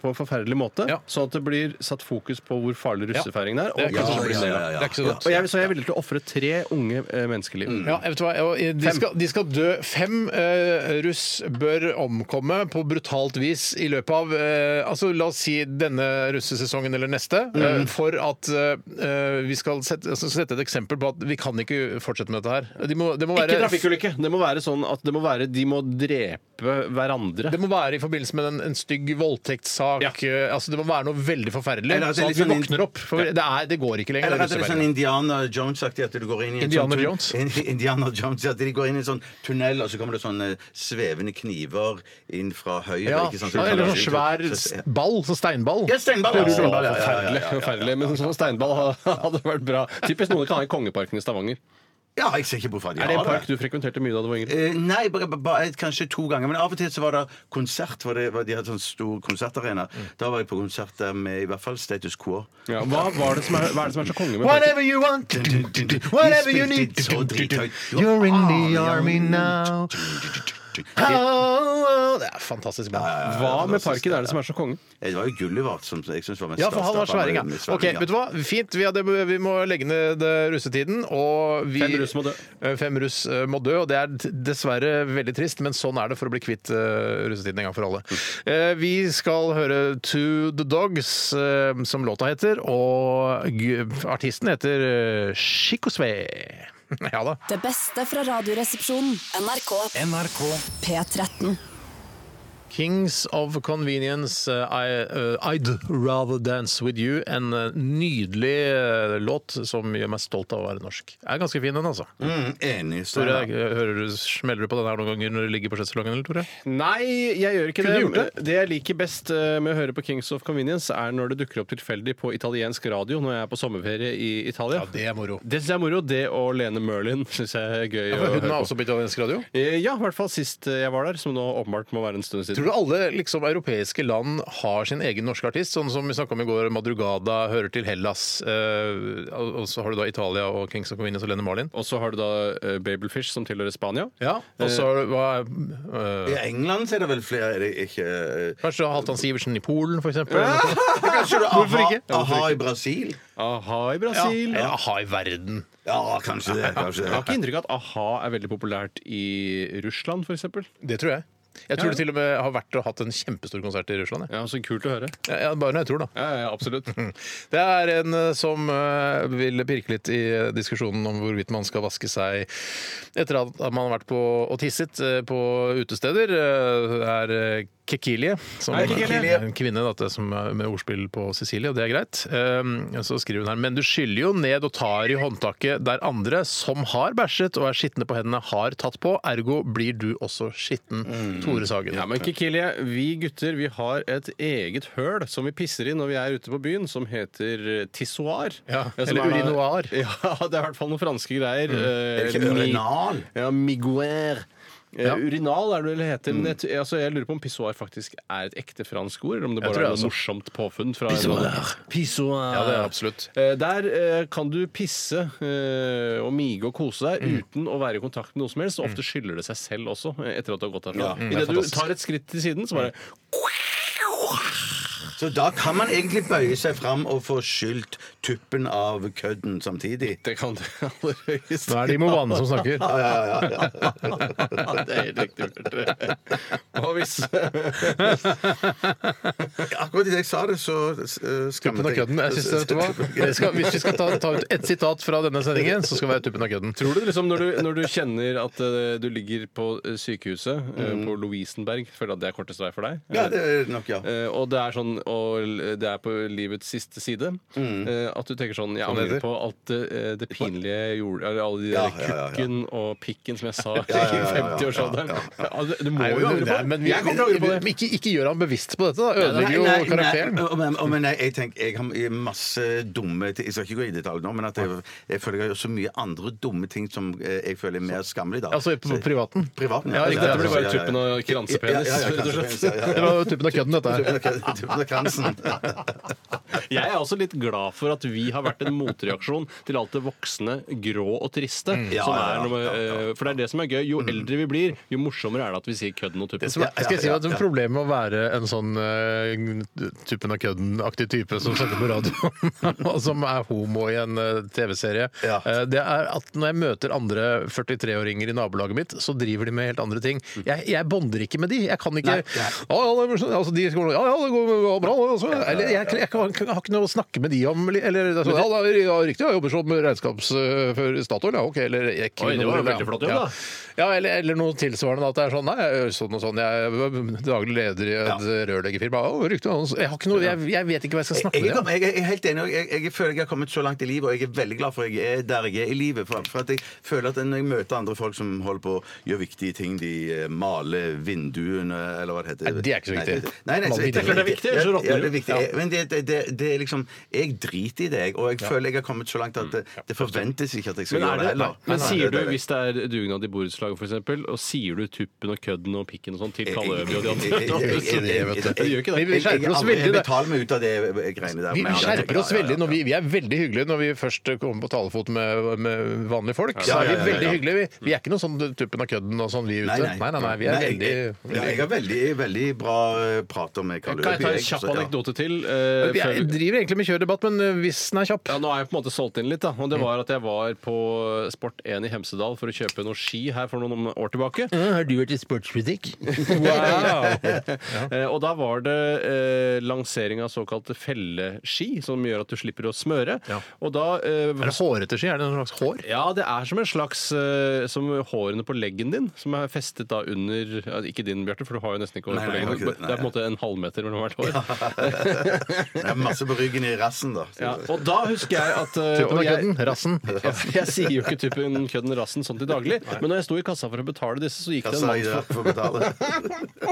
På en forferdelig måte,
Mm. Ja.
sånn at det blir satt fokus på hvor farlig russefeiringen er. Og,
Det er ikke så
og-
dumt.
ja, ja, ja.
Det er ikke så Mm. dumt.
og jeg, så jeg er villig til å ofre tre unge eh, menneskeliv.
Ja, jeg vet hva, og de, skal, de skal dø. Fem eh, russ bør omkomme på brutalt vis i løpet av eh, altså, La oss si denne russesesongen eller neste. eh, for at eh, vi skal sette, altså, sette et eksempel på at vi kan ikke fortsette med dette her. De må, det må være,
Ikke trafikkulykke! Det må være sånn at det må være, de må drepe hverandre.
Det må være i forbindelse med en, en stygg voldtektssak.
Ja.
eh, Altså, det må være noe veldig forferdelig,
Eller at det
sånn
er
at vi
litt sånn-
våkner opp. For det, er, det går ikke lenger.
Eller at det er
russeverdenen.
sånn Indiana Jones-aktig at du går inn i en
Indiana
sånn tun- *laughs*
Jones?
en- Indiana Jones, ja, at de går inn i en sånn tunnel, og så kommer det sånne svevende kniver inn fra høyre.
ja,
ikke sant?
eller sånn svær
Så-
s- ball, sånn steinball.
Ja, steinball! altså. Ja,
Å,
steinball, ja, ja, ja, ja,
Forferdelig.
ja, ja.
forferdelig Men sånn steinball *laughs* hadde vært bra. Typisk noen kan ha i Kongeparken i Stavanger.
Ja, jeg ser ikke bort fra de
Er det en
har
park du frekventerte mye da du var yngre?
Eh, nei, bare, bare, kanskje to ganger. Men av og til så var det konsert. Hvor det, hvor de hadde sånn stor konsertarena. Da var jeg på konsert der med i hvert fall Status Quo.
Ja, hva, var det som er, hva er det som er så konge med parken?
Whatever you want,
De
whatever you
spilte
need
så drithøyt.
You're in the army now Hello. Det er fantastisk band.
Hva med parken er det som er så konge?
Eh, Det var jo Gulliver som jeg syns var mest
Ja, for han var sværing, ja. Ok, vet du hva? Fint. Vi, hadde, vi må legge ned det russetiden. Og vi,
Fem russ må dø.
Eh, Fem russ eh, må dø, og det er d- dessverre veldig trist, men sånn er det for å bli kvitt eh, russetiden en gang for alle. Eh, vi skal høre To The Dogs, eh, som låta heter, og g- artisten heter eh, Chico Sve. *laughs* Ja da.
Det beste fra Radioresepsjonen. NRK.
NRK.
P13.
Kings of Convenience, uh, I, uh, I'd Rather Dance With You. En uh, nydelig uh, låt som gjør meg stolt av å være norsk. Er ganske fin, den, altså.
Mm, enig.
Tore,
Steinar.
hører du, smeller du på den her noen ganger når du ligger på sjettesalongen, eller, Tore?
Nei, jeg gjør ikke
Kunne
det.
gjort det.
Det jeg liker best eh, med å høre på Kings of Convenience, er når det dukker opp tilfeldig på italiensk radio når jeg er på sommerferie i Italia.
det er moro.
Det syns jeg er moro. Det og Lene Merlin *laughs* syns jeg er gøy
Ja,
å
for hun er
høre på.
også på italiensk radio.
Eh, Ja, i hvert fall sist eh, jeg var der, som nå åpenbart må være en stund
Tror
siden.
du alle liksom, europeiske land har sin egen norske artist? Sånn som vi snakka om i går, Madrugada hører til Hellas. eh, og og så har du da Italia og Kings of Convenience og Lene Marlin.
Og så har du da eh, Babelfish, som tilhører Spania.
Ja, og så har du hva er,
I
eh,
England så er det vel flere er det ikke eh,
Kanskje Halvdan Sivertsen i Polen, for eksempel. eller noe sånt.
Kanskje det
Ah,
er
Hvorfor
a-ha,
ikke?
a-ha i Brasil?
Aha i
Ja.
Brasil.
Eller aha i verden.
Ja, kanskje det.
*laughs*
kanskje
Jeg har
det.
ikke inntrykk av at a-ha er veldig populært i Russland, f.eks.
Det tror jeg. Jeg tror
Ja.
det til og med har vært og hatt en kjempestor konsert i Russland. Jeg.
Ja, så kult å høre.
Ja, ja, bare når jeg tror, da.
Ja, ja, absolutt.
*laughs* Det er en eh, som eh, vil pirke litt i eh, diskusjonen om hvorvidt man skal vaske seg etter at at man har vært på og tisset eh, på utesteder. Eh, Det er eh, Kekilie, som
Hei, Kekilie.
en kvinne da, det som er med ordspill på Sicilie, og det er greit. Eh, Så skriver hun her Men du skyller jo ned og tar i håndtaket der andre som har bæsjet og er skitne på hendene, har tatt på. Ergo blir du også skitten. Tore Sagen.
Ja, men Kikilje, vi gutter vi har et eget høl som vi pisser i når vi er ute på byen, som heter tissoar.
Ja,
som
eller
er da-
urinoir. Mm.
Ja, det er i hvert fall noen franske greier. Eh,
Er det ikke
mi-
urinal?
Ja, miguer. Eh,
Ja. Mm.
Urinal er det vel det heter. Men jeg, t- altså, jeg lurer på om pissoar faktisk er et ekte fransk ord, eller om det
Jeg
bare
tror
er
det
noe
også.
morsomt påfunn. fra
Pissoir.
Pissoar.
Ja, det er absolutt.
Eh, Der eh, kan du pisse eh, og mige og kose
Mm.
deg uten å være i kontakt med noe som helst. Og ofte skyller det seg selv også, eh, etter at du har gått derfra.
Ja,
Idet
mm,
det er
du
fantastisk.
tar et skritt til siden, så bare
Så da kan man egentlig bøye seg fram og få skylt tuppen av kødden samtidig.
Det kan du aller høyest.
Nå er det Imo Vane som snakker.
Ja, ja,
*laughs*
ja, ja.
Det er helt riktig. Bjarte. Hva hvis
Akkurat idet jeg sa det, så eh,
Tuppen
skammet
av kødden. *laughs* Jeg synes, vet du hva? Det skal, hvis vi skal ta, ta ut et sitat fra denne sendingen, så skal det være Tuppen av kødden.
Tror du det liksom når du, når du kjenner at eh, du ligger på eh, sykehuset eh, på Lovisenberg Føler at det er kortest vei for deg?
Mm. Ja, det er nok, ja.
Eh, og det er sånn og l- det er på livets siste side.
Mm.
eh, at du tenker sånn Jeg
Som det heter.
angrer på alt det, eh, det pinlige jeg gjorde eller Alle de
Ja,
der
ja, ja, ja.
kukken og pikken som jeg sa
*laughs* ja, ja, ja,
i 50-årsalderen.
ja,
Ja,
ja, ja.
du, du må
Nei,
jo angre på det.
men vi,
jeg kommer til å angre på det.
men ikke, ikke gjør ham bevisst på dette, da.
Nei,
Ødelegger jo
nei,
karakteren.
Nei, å, men- å, men nei, jeg tenker jeg har masse dumme ting Jeg skal ikke gå i detalj nå, men at jeg, jeg føler jeg har gjort så mye andre dumme ting som eh, jeg føler er mer skammelig, da.
Altså på
Så-
privaten.
Privaten,
Ja, riktig,
dette blir bare
Ja, ja, ja.
tuppen av kransepenis,
Ja, ja, ja,
rett og slett.
kransepenis, ja, ja, ja.
Det var jo Tuppen av kødden, dette her.
Tuppen av- Tuppen av
*laughs*
kransen.
Jeg er også litt glad for at vi har vært en motreaksjon til alt det voksne, grå og triste.
Ja,
som
Mm. ja,
er
ja,
noe,
ja, ja. Mm.
eh, For det er det som er gøy. Jo eldre vi blir, jo morsommere er det at vi sier kødden og tuppen.
Som, er-
Ja,
skal jeg si
ja,
at det er
ja.
Problemet med å være en sånn eh, Tuppen av kødden-aktig type som sender på radioen, *laughs* og som er homo i en eh, TV-serie,
Ja.
eh, det er at når jeg møter andre 43-åringer i nabolaget mitt, så driver de med helt andre ting. Jeg, jeg bonder ikke med de. Jeg kan ikke
Nei, nei.
Ja, ja, det, er- altså, de går, ja, ja, det går bra. Altså. Eller, jeg, jeg, kan- jeg har ikke noe å snakke med de om. Eller, altså, ja, det er ja, riktig, jeg jobber som regnskapsfører i Statoil, ja, OK. Eller jeg,
Oi, det var en
eller-
veldig flott jobb,
ja.
da.
Ja, eller, eller noe tilsvarende. At det er sånn Nei, jeg er sånn og sånn. Jeg er daglig leder i et rørleggerfirma. Å, rykte om- Jeg har ikke noe jeg, jeg vet ikke hva jeg skal snakke
Jeg,
med
er
dem om.
kom- jeg, er- jeg er helt enig. og Jeg, jeg føler jeg har kommet så langt i livet, og jeg er veldig glad for at jeg er der jeg er i livet. For, for at jeg føler at når jeg møter andre folk som holder på å gjøre viktige ting, de eh, maler vinduene, eller hva det heter
Nei, det er ikke så viktig.
Nei, nei,
Maler vinduer.
så, jeg tenker-
Det er klart det er viktig, ellers så råtner
Ja,
du.
det er viktig. Men det, det, det, det det er liksom Jeg driter i deg, og jeg føler jeg har kommet så langt at det, det forventes ikke at jeg skal
Mm. Men, er
gjøre det
det,
heller.
men sier du,
Det- det-
hvis det er dugnad i borettslag f.eks., og sier du tuppen og kødden og pikken og sånn
Eh,
til Kalle Øby og de
*laughs* Jeg- jeg- jeg- jeg- jeg- jeg- jeg-
andre? Du gjør ikke det.
Vi skjerper oss
jeg- jeg-
veldig, da.
Jeg betaler meg ut av det eh, greiene der.
Vi
men-
skjerper oss
Ja, ja, ja.
veldig. Når vi, vi er veldig hyggelige når vi først kommer på talefot med, med vanlige folk. Så
Ja,
er
ja, ja,
vi
ja,
veldig
ja.
hyggelige. Vi, vi er ikke noe sånn tuppen av kødden og sånn vi ute.
Nei,
Nei, nei, nei, vi er
Nei,
veldig,
jeg, jeg, jeg har veldig, veldig bra eh, prater med Kalle
Kan jeg ta en
jeg,
kjapp
så- ja.
anekdote til? eh,
Vi
før
er,
vi-
driver egentlig med kjørdebatt, men eh, hvis den er kjapp
Ja, nå er jeg på en måte solgt inn litt. da,
Mm.
og det var at Jeg var på Sport1 i Hemsedal for å kjøpe noen ski her for noen år tilbake.
Mm.
Har du vært i sportsbutikk? *laughs* Wow!
Eh, og da var det eh, lansering av såkalte felleski, som gjør at du slipper å smøre.
Ja.
Og da eh,
Er det hårete ski? Er det noen slags hår?
Ja, det er som en slags eh, Som hårene på leggen din, som er festet da under ja, Ikke din, Bjarte, for du har jo nesten ikke hår
Nei,
på
nei,
leggen.
jeg har ikke det.
det er på en måte en halvmeter mellom hvert hår.
Det er masse på ryggen i rassen, da.
Ja, og da husker jeg at eh,
Tuppen
og
av
jeg,
kødden? Rassen?
jeg, jeg sier jo ikke typen kødden rassen sånn til daglig, men når jeg sto i kassa for å betale disse, så gikk det en
Kassa
mann
i
for,
det for å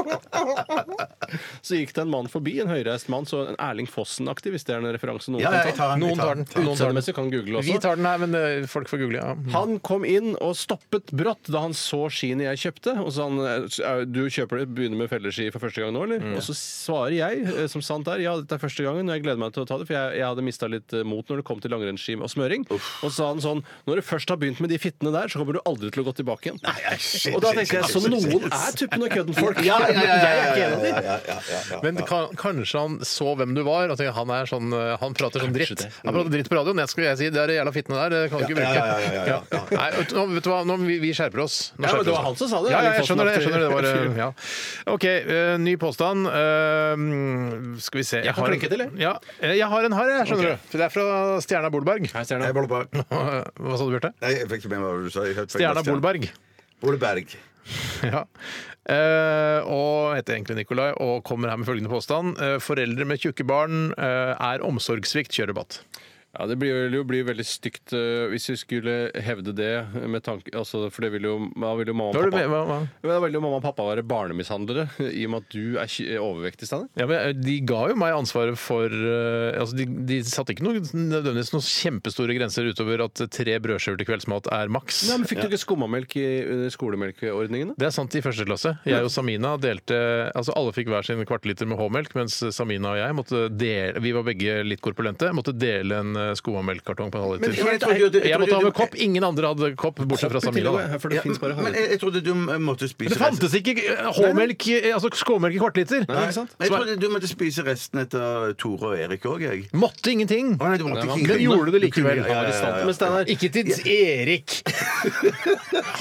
betale.
så gikk det en mann forbi, en høyreist mann, så en Erling Fossen-aktig, hvis det er en referanse noen
Ja,
kan
jeg
ta.
tar den. jeg
Noen tar den.
tar
Noen tar den.
Utseendemessig kan google
Vi
også.
tar den her, men eh, folk får google. Ja.
Han kom inn og stoppet brått da han så skiene jeg kjøpte. Og sa han «Er- du kjøper det, begynner med felleski for første gang nå,
Mm.
eller? Og så svarer jeg, eh, som sant er, ja, dette er første gangen, og jeg gleder meg til å ta det, for jeg, jeg hadde mista litt eh, mot når det kom til langrennsski og smøring. Og så sa han sånn, når du først har begynt med de fittene der, så kommer du aldri til å gå tilbake igjen.
shit,
og da
shit,
tenkte jeg,
shit,
så
shit,
noen
shit.
er tuppen og kødden folk.
Ja, ja, ja,
Men jeg er
ja,
ikke
ja,
en av de.
ja, ja, ja, ja, ja.
Men kan, kanskje han så hvem du var og tenkte han er sånn eh, Han prater sånn dritt. Han prater dritt på radioen. Jeg skulle jeg si det er jævla fittene der, det kan du ikke bruke.
ja, ja, ja, ja, ja.
Ja. Nei, vet du hva, vet du hva, nå, vi, vi skjerper oss. Nå
Ja,
skjerper
men det
vi
var
oss.
han som sa det.
Ja, ja,
Erling
jeg skjønner det. Jeg
Fossen,
skjønner det,
*laughs*
det
fyr.
var, eh, ja. OK, eh, ny påstand. Eh, skal vi se
Jeg kan
har en-
klikke til, jeg.
Ja, eh, jeg har en her, jeg, skjønner du. For Det er fra Stjerna Bolberg.
Hei, Stjerna.
Hei, Bolberg.
*laughs* Hva sa du, Bjarte?
Nei, jeg fikk ikke med meg hva du sa. Jeg hørte faktisk
Stjerna
Stjerna.
Bolberg.
Bolberg.
*laughs* Ja. Eh, og heter egentlig Nikolai og kommer her med følgende påstand. Eh, foreldre med tjukke barn eh, er omsorgssvikt, kjør debatt.
Ja, Det blir- ville jo bli veldig stygt eh, hvis vi skulle hevde det med tanke altså, For det vil jo, da vil jo mamma og
Hva er det
pappa
med- hva- hva?
Men Da vil jo mamma og pappa være barnemishandlere i og med at du er ki- overvektig, Steinar.
Ja, men eh, de ga jo meg ansvaret for eh, altså de, de satte ikke noe, nødvendigvis noen kjempestore grenser utover at tre brødskiver til kveldsmat er maks.
Nei, men Fikk du ikke skummamelk i under skolemelkeordningene?
Det er sant i første klasse. Jeg og Samina delte Altså alle fikk hver sin kvartliter med H-melk, mens Samina og jeg måtte dele Vi var begge litt korpulente, måtte dele en eh, skomamelkkartong på en halvliter.
Men jeg trodde jo- jeg
Jeg måtte ha med
trodde jo-
kopp. Ingen andre hadde kopp, bortsett fra Samina. da.
For det
Ja,
finnes bare
men
halve.
jeg, jeg trodde du eh, måtte spise
Men det fantes ikke eh, H-melk, eh, altså skomelk i kvartliter.
Nei, ikke sant?
resten. Jeg trodde du måtte spise resten etter Tore og Erik òg, jeg.
Måtte ingenting.
Å, nei, du måtte ikke.
Men eh, gjorde det likevel.
Ja, ja, ja, ja, ja.
Men Steinar Ikke til
*laughs*
Erik!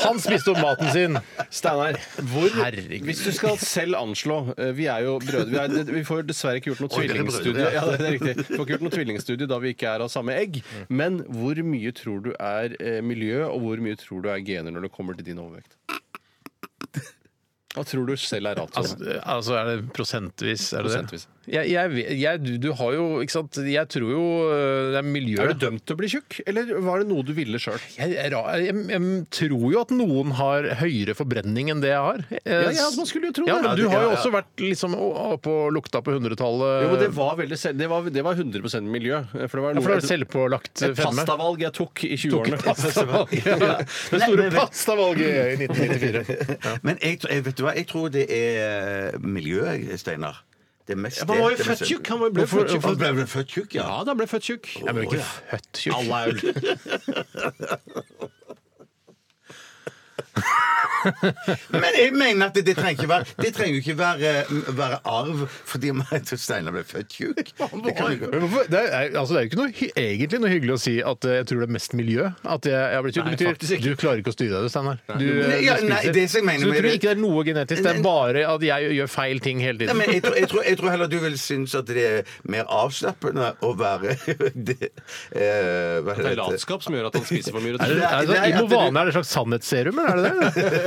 Han spiste opp maten sin.
Steinar, hvor
Herregud.
Hvis du skal selv anslå eh, Vi er jo brødre. Vi, er, vi får dessverre ikke gjort noe
Oi, dere er
tvillingstudie.
brødre,
Ja,
ja.
det er riktig. Vi får ikke gjort noe tvillingstudie da vi ikke er av samme egg. Men hvor mye tror du er eh, miljø, og hvor mye tror du er gener når det kommer til din overvekt? Hva tror du selv er ratioen?
Altså, eh, altså er det prosentvis? Er det
Prosentvis.
Det? Jeg, jeg, vet- jeg, du, du har jo Ikke sant, jeg tror jo eh, det er
er
miljøet
du dømt til å bli tjukk, eller var det noe du ville sjøl?
jeg, jeg, jeg, jeg tror jo at noen har høyere forbrenning enn det jeg har. Eh,
ja, man skulle jo tro
ja,
det.
men Du
Ja,
har jo
ja,
også vært liksom oppe og lukta på hundretallet.
Jo, men det var, veldig, selv- det var, det var 100 miljø. eh, For det
ja,
var noe,
for det er selvpålagt
et
fedme.
pastavalg jeg tok i
Tok
20-årene.
et
*laughs*
pastavalg. Ja. Det
Nei,
store
men-
pastavalget i 1994.
Men jeg, tr- jeg, vet du hva? jeg tror det er eh, miljøet, Steinar. Det er mest
Ja, men han var jo
det- det er mest-
født tjukk! Han var jo ble
Hvorfor-
født tjukk.
Han ble vel født tjukk, ja.
Ja, da ble født tjukk.
Jeg ble ikke født tjukk.
Alle er
*laughs*
jo
Men jeg mener at det, det trenger ikke være Det trenger jo ikke være, være arv fordi om at Steinar ble født tjukk. Det kan jo ikke-
Men hvorfor- Det er, altså det er jo ikke noe, hy- egentlig noe hyggelig å si at eh, jeg tror det er mest miljø. At jeg, jeg har blitt tjukk.
Nei,
Det
faktisk ikke.
betyr du klarer ikke å styre deg, Steinar. Du,
Nei, ja, nei,
spiser.
det som
så
jeg mener
du
med
tror
det-
ikke det er noe genetisk, det er bare at jeg gjør feil ting hele
Nei,
tiden.
men jeg, tror, jeg, tror, jeg tror heller du vil synes at det er mer avslappende å være *laughs* det, eh, Hva
Det er
heter det?
latskap som gjør at han spiser for mye.
Er det,
rett og slett.
er det sånn,
Nei, at du-
Imovane er det et slags sannhetsserum, eller er det det?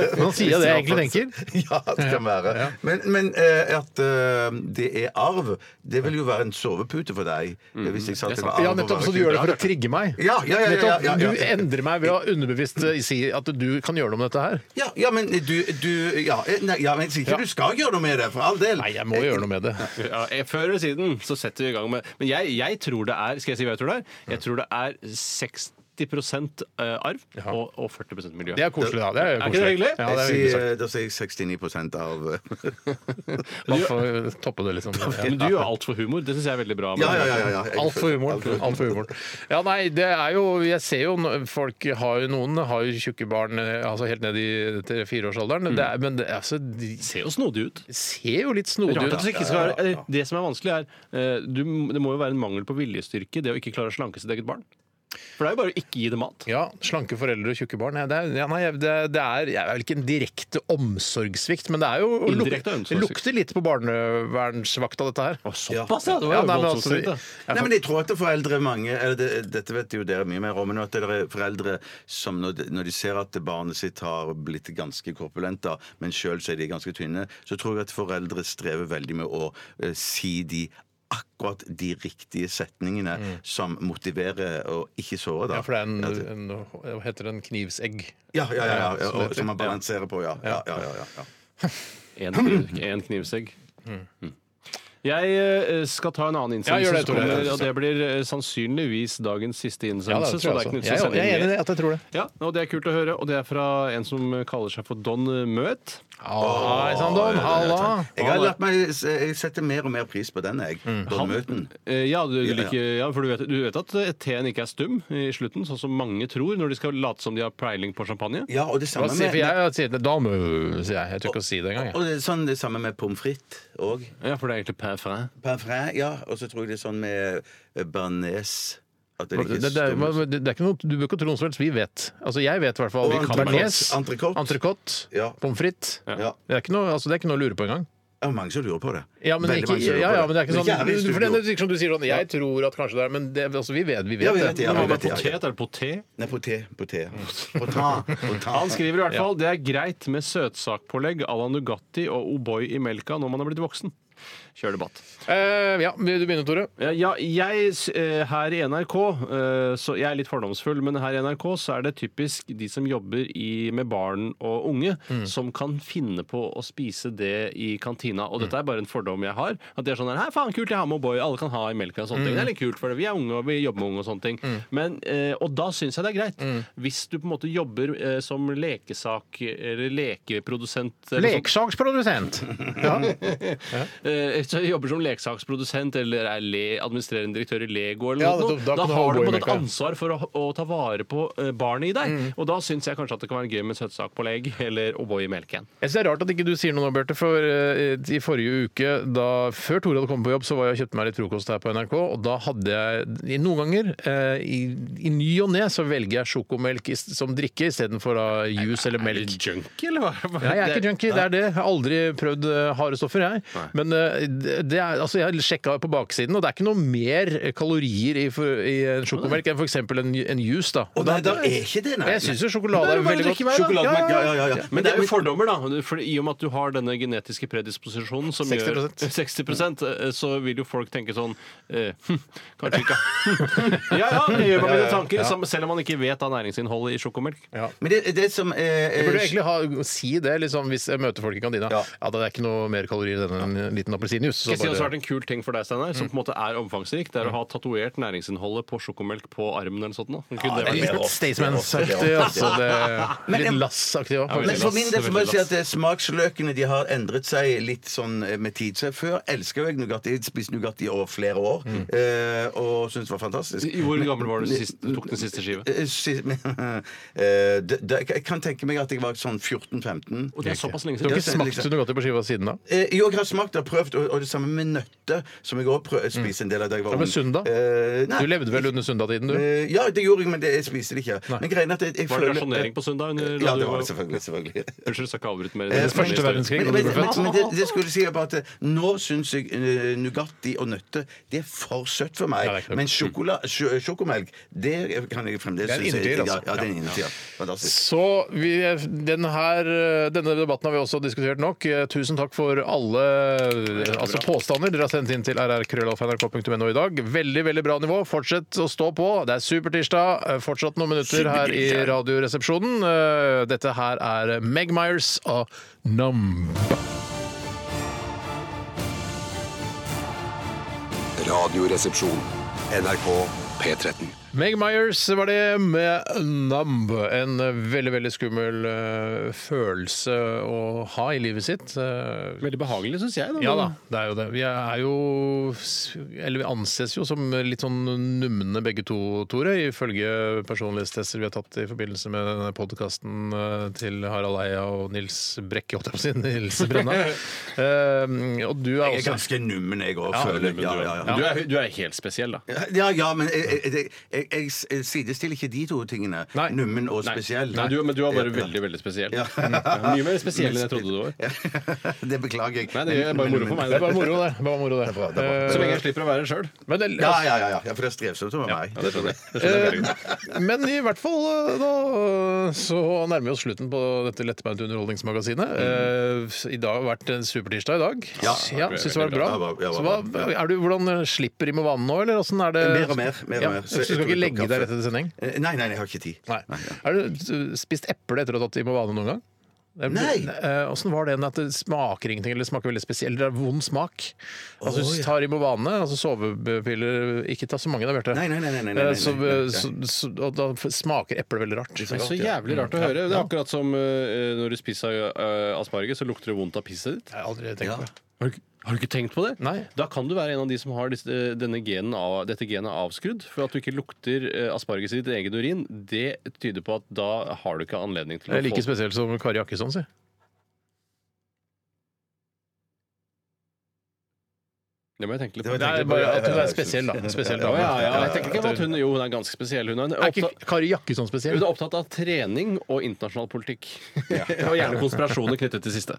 *laughs*
Nå sier jeg det jeg egentlig tenker.
Ja, det kan være. Men, men eh, at eh, det er arv, det vil jo være en sovepute for deg. eh, Hvis jeg sa at det var arv
Ja,
å
nettopp,
være
så du gjør Mm, det
kul.
for å trigge meg.
Ja, ja, ja, ja, ja,
Nettopp,
ja, ja.
Du endrer meg ved å underbevisst eh, si at du kan gjøre noe med dette her.
Ja, ja, men du, du ja, eh, nei, ja, men jeg sier ikke du skal gjøre noe med det, for all del.
Nei, jeg må gjøre noe med det.
Ja, eh, før eller siden så setter vi i gang med Men jeg, jeg tror det er Skal jeg si hva jeg tror det er? Jeg tror det er 60 eh, arv og, og 40 miljø.
Det er koselig, da. Det er,
Er ikke
koselig.
det hyggelig?
Ja, det
Jeg
er hyggelig
sier,
sagt.
eh, da sier jeg 69 av
Man får toppe det, liksom.
Ja, men du gjør alt for humor. Det syns jeg er veldig bra.
Ja, ja, ja, ja, ja. Jeg-
Alt for humoren. Alt for humoren. Ja, nei, det er jo Jeg ser jo n- folk har jo Noen har jo tjukke barn eh, altså helt ned i tre- fireårsalderen, men det er, men det, altså, de
Mm. Ser jo snodig ut.
ser jo litt snodige ut.
Rart at det, ikke skal være, eller, det som er vanskelig, er eh, du, m- Det må jo være en mangel på viljestyrke det å ikke klare å slanke sitt eget barn. For det er jo bare å ikke gi det mat.
Ja, Slanke foreldre og tjukke barn. Nei, det, er, ja, nei, det, det er, det er vel ikke en direkte omsorgssvikt, men det er jo å luk-
Indirekte omsorgssvikt.
lukter litt på barnevernsvakta, dette her.
såpass, ja. Det var
Ja,
jo
nei, men
voldsomt
altså,
svikt, da.
jeg-
Nei, men jeg tror at det er foreldre mange eller det, Dette vet jo dere mye mer om, men at det er foreldre som når de, når de ser at barnet sitt har blitt ganske korpulent, da, men sjøl er de ganske tynne, så tror jeg at foreldre strever veldig med å eh, si de akkurat de riktige setningene som motiverer og ikke såre,
Mm.
da.
Ja, for det er en, en Hva heter det? En knivsegg.
ja, ja, ja, ja,
Ja, som
og-
heter-
som man balanserer på, ja. ja, ja, ja, ja, ja.
En, kniv, en knivsegg. Mm. Jeg eh, skal ta en annen
Ja,
innsendelse,
gjør det,
som
Tore.
kommer, og det blir eh, sannsynligvis dagens siste innsendelse. så det er ikke noe
jeg, jeg er
sending
enig i
mer.
det, at jeg tror det.
Ja, og Det er kult å høre, og det er fra en som kaller seg for Don Møt.
Hei sann, Don. Halla.
Jeg har latt meg Jeg setter mer og mer pris på den, jeg.
Mm.
Don Møten.
Eh, Ja, du, du
Ja, ja.
liker, ja, for du vet, du vet at eh, teen ikke er stum i slutten, sånn som mange tror når de skal late som de har peiling på champagne.
Ja, og det
Hva
samme
sier, for
med
jeg, jeg sier det, dame, sier jeg. Jeg tør ikke å si det engang.
Og
jeg.
det er sånn det samme med pommes frites òg.
Ja, for det er egentlig pain fin.
Parfait, ja. Og så tror jeg det er sånn med eh, bearnés At det
Det,
ikke
det, det,
stum-
er- det er ikke noe, du bør ikke tro noe som helst. Vi vet. Altså, jeg vet i hvert fall.
Og entrecôte.
Bearnés,
Entrecôte.
entrecôte,
Ja.
pommes frites.
Ja.
Det er ikke noe altså, det er ikke noe å lure på engang.
Det er mange som lurer på det.
Ja, men,
Veldig
ikke,
mange som
ja,
lurer på
ja, men det er ikke sånn
her i
du- for det,
studio.
det virker som du sier sånn Jeg tror at kanskje det er Men det, altså, vi vet, vi vet
Ja, vi
det.
vet det,
Hva
ja, vi
med
vet det, ja,
potet?
ja.
Er det potet?
Nei, potet. Potet. Potet. Potet.
Han skriver i hvert fall det er greit med søtsakpålegg à la Nugatti og O'boy i melka når man har blitt voksen. Kjør debatt.
Eh, ja, vil du begynne, Tore?
Eh, Ja, jeg s- eh, her i NRK, eh, så jeg er litt fordomsfull, men her i NRK så er det typisk de som jobber i, med barn og unge, som kan finne på å spise det i kantina. Og dette er bare en fordom jeg har. At det er sånn her, «Hæ, faen kult, jeg har med O'boy, alle kan ha i melka og sånne ting. Det er litt kult, for det. vi er unge og vi jobber med unge og sånne ting. Men, eh, og da syns jeg det er greit. Hvis du på en måte jobber eh, som lekesak eller lekeprodusent eh, eller sånt,
Leksaksprodusent!
*laughs*
Eh, så jeg jobber som leksaksprodusent eller er le, administrerende direktør i Lego eller
Ja,
noe,
nettopp.
da,
Da kan du ha
har du på en
O'boy i
måte
melka, ja.
et ansvar for å, å ta vare på eh, barnet i deg. Og da syns jeg kanskje at det kan være gøy med søtsakpålegg eller O'boy i melken.
Jeg synes Det er rart at ikke du sier noe nå, Bjarte. For eh, i forrige uke, da, før Tore hadde kommet på jobb, så var jeg og kjøpte meg litt frokost her på NRK. Og da hadde jeg i- Noen ganger, eh, i, i ny og ne, så velger jeg sjokomelk i- som drikke istedenfor uh, juice eller melk.
junkie, eller hva?
Nei, jeg er ikke junkie. Det er det. Jeg har aldri prøvd eh, harde stoffer, jeg. Men eh, det er, altså, jeg har sjekka på baksiden, og det er ikke noe mer kalorier i, for- i en sjokomelk enn f.eks. En, en juice. da.
Å, nei, da er ikke det, nei.
Jeg syns jo sjokolade er veldig godt.
Sjokolademelk, ja, ja, ja. ja.
Men det er jo fordommer, da. For I og med at du har denne genetiske predisposisjonen som *laughs*
60%.
gjør 60 eh, så vil jo folk tenke sånn eh, hm, Kanskje ikke. *laughs* ja ja, jeg gjør meg mine tanker, sam- selv om man ikke vet av næringsinnholdet i sjokomelk.
Men det, det som eh,
Jeg burde
eh,
egentlig ha, si det liksom, hvis jeg møter folk i kantina. Ja. det er ikke noe mer kalorier i den enn en liten appelsinjuice. så
Skal jeg si hva som har
bare-
vært en kul ting for deg, Steinar, som på en måte er omfangsrikt? Det er å ha tatovert næringsinnholdet på sjokomelk på armen eller noe sånt. nå. Kunne det vært-
Litt Staysman-aktig, altså. Det, litt Lass-aktig òg,
Men-
eh, men
faktisk.
for min del så må jeg si
Veldig
at eh, smaksløkene de har endret seg litt sånn eh, med tid. Så jeg før elska jeg Nugatti. Jeg spiste Nugatti i over flere år
Mm.
eh, og syntes det var fantastisk.
I- Hvor gammel var du sist du tok den siste skiva?
Eh, si- *laughs* men, eh, det- det- Jeg kan tenke meg at jeg var sånn 14-15.
Og det er liksom- såpass lenge
Du har
siden.
ikke smakt Nugatti på skiva siden da?
Eh, Jo, jeg har smakt det og prøvd, og, og det samme med nøtter, som jeg òg
Mm.
prøv- spiste en del av da jeg var
Hva med Sunda?
Eh, nei.
Du levde vel under Sunda-tiden, du?
Eh, ja, det gjorde jeg, men det, jeg spiste det ikke. Men greien er at jeg, jeg
Var det rasjonering på søndag? under-
Ja, det var det selvfølgelig. selvfølgelig.
Unnskyld, jeg skal ikke avbryte mer.
Eh, men-
Første verdenskrig,
Men,
da
men,
du ble født.
men, men det, det skulle jeg si er bare at eh, nå syns jeg eh, Nugatti og nøtter det er for søtt for meg.
Ja, det er klart.
men sjokola, sjo- sjokomelk, det kan jeg
Mm. Det
fremdeles
er en
synes
innertier,
ja,
altså.
Ja, det er en
Ja.
innertier. Fantastisk.
Så vi, den her, denne debatten har vi også diskutert nok. Eh, Tusen takk for alle altså påstander dere har sendt inn til rrkrøllalfa.nrk.no i dag. Veldig veldig bra nivå. Fortsett å stå på. Det er supertirsdag. Eh, Fortsatt noen minutter her i Radioresepsjonen. Eh, Dette her er Meg Myers av Numb.
Radioresepsjon. NRK P13.
Meg Myers var det med Numb. En veldig veldig skummel eh, følelse å ha i livet sitt. Eh, Veldig behagelig, syns jeg. Ja da, det er jo det. Vi er jo Eller vi anses jo som litt sånn numne begge to, Tore, ifølge personlighetstester vi har tatt i forbindelse med denne podkasten til Harald Eia og Nils Brekke, holdt jeg på å si. *laughs* Nils Brenna. Eh, og du er
Jeg er
også
ganske nummen, jeg òg,
Ja,
føler jeg.
nummen
Ja,
du er.
ja,
Du
ja.
er-
Du er helt spesiell, da.
Ja, ja, men jeg, jeg, jeg, jeg, jeg sidestiller ikke de to tingene. Nummen og
Nei.
spesiell.
Nei, du, men du var bare
Ja, ja.
veldig veldig spesiell.
Ja.
Ja, Mye mer spesiell enn jeg trodde du
*laughs*
var.
Det beklager jeg.
Nei, det er bare moro for meg.
Det er bare moro, det. Bare moro, det. Eh,
Så lenge jeg slipper å være sjøl.
Men det-
Ja, ja, ja, ja. For det er strevsomt over meg.
Ja, det skjønner jeg. Det skjønner jeg.
Eh, Men i hvert fall eh, da eh, så nærmer vi oss slutten på dette lettbeinte underholdningsmagasinet. Eh, I dag har vært en supertirsdag i dag.
Mm. Ja.
Syns det var
Ja,
bra.
bra, ja,
Så hva,
bra, bra.
er du, hvordan eh, slipper rim og vann nå, eller åssen er det?
Mer og mer. mer, og
Ja,
mer.
så du
jeg
skal
tror jeg
ikke
tok
legge deg
kaffe.
rett etter sending?
Eh, Nei, nei, nei, jeg har ikke tid.
Nei. Har du eh, spist eple etter å ha tatt rim og vann noen gang? Det-
Nei.
eh, Åssen var det at det smaker ingenting, eller det smaker veldig spesielt, eller det er vond smak? Altså,
Å, ja.
ta Rimovane, altså sovepiller Ikke ta så mange, da, Bjarte.
Nei, nei, nei, nei, nei, nei,
Eh, så-
nei, nei, nei.
så- så- Og da smaker eplet veldig rart.
Det er så jævlig rart å
Ja.
høre. Det er
Ja.
akkurat som eh, når du spiser eh, asparges, så lukter det vondt av pisset ditt.
Jeg har aldri tenkt på det.
Har du, ikke- har du ikke tenkt på det?
Nei.
Da kan du være en av de som har disse, denne genen av, dette genet avskrudd. For at du ikke lukter eh, asparges i ditt egen urin, det tyder på at da har du ikke anledning til
Det
å
er like spesielt som Kari Jakkesson, si.
Det må jeg tenke litt
Det
på.
er bare at hun er spesiell, da. Spesiell
Ja,
dame.
ja, ja. Jeg tenker ikke på at hun, jo, hun er ganske spesiell. Hun er, en
Er ikke
opptatt,
Kari Jakkesson spesiell?
hun er opptatt av trening og internasjonal politikk. *laughs* og gjerne konspirasjoner knyttet til siste.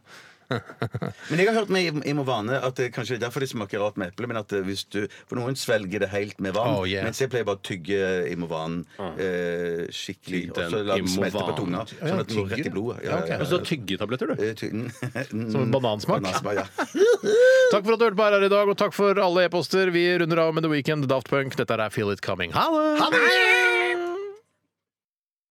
Men jeg har hørt med Im- Imovane at det kanskje er derfor det smaker rart med eple. Men at eh, hvis du, for noen svelger det helt med vann,
Oh, yeah.
mens jeg pleier bare å tygge Imovanen eh, skikkelig.
Ah. Tygg
Og
den
så la den smelte på tunga,
Imovanen.
Ja, ja,
sånn at den går
tygger
rett i
den.
blodet.
Ja, ok.
Og så tyggetabletter, du.
Eh, ty- *laughs*
Som en banansmak?
Banansmak, ja.
Takk for at du hørte på her i dag, og takk for alle e-poster. Vi runder av med The Weekend, Daft Punk. Dette er Feel It Coming. Ha det!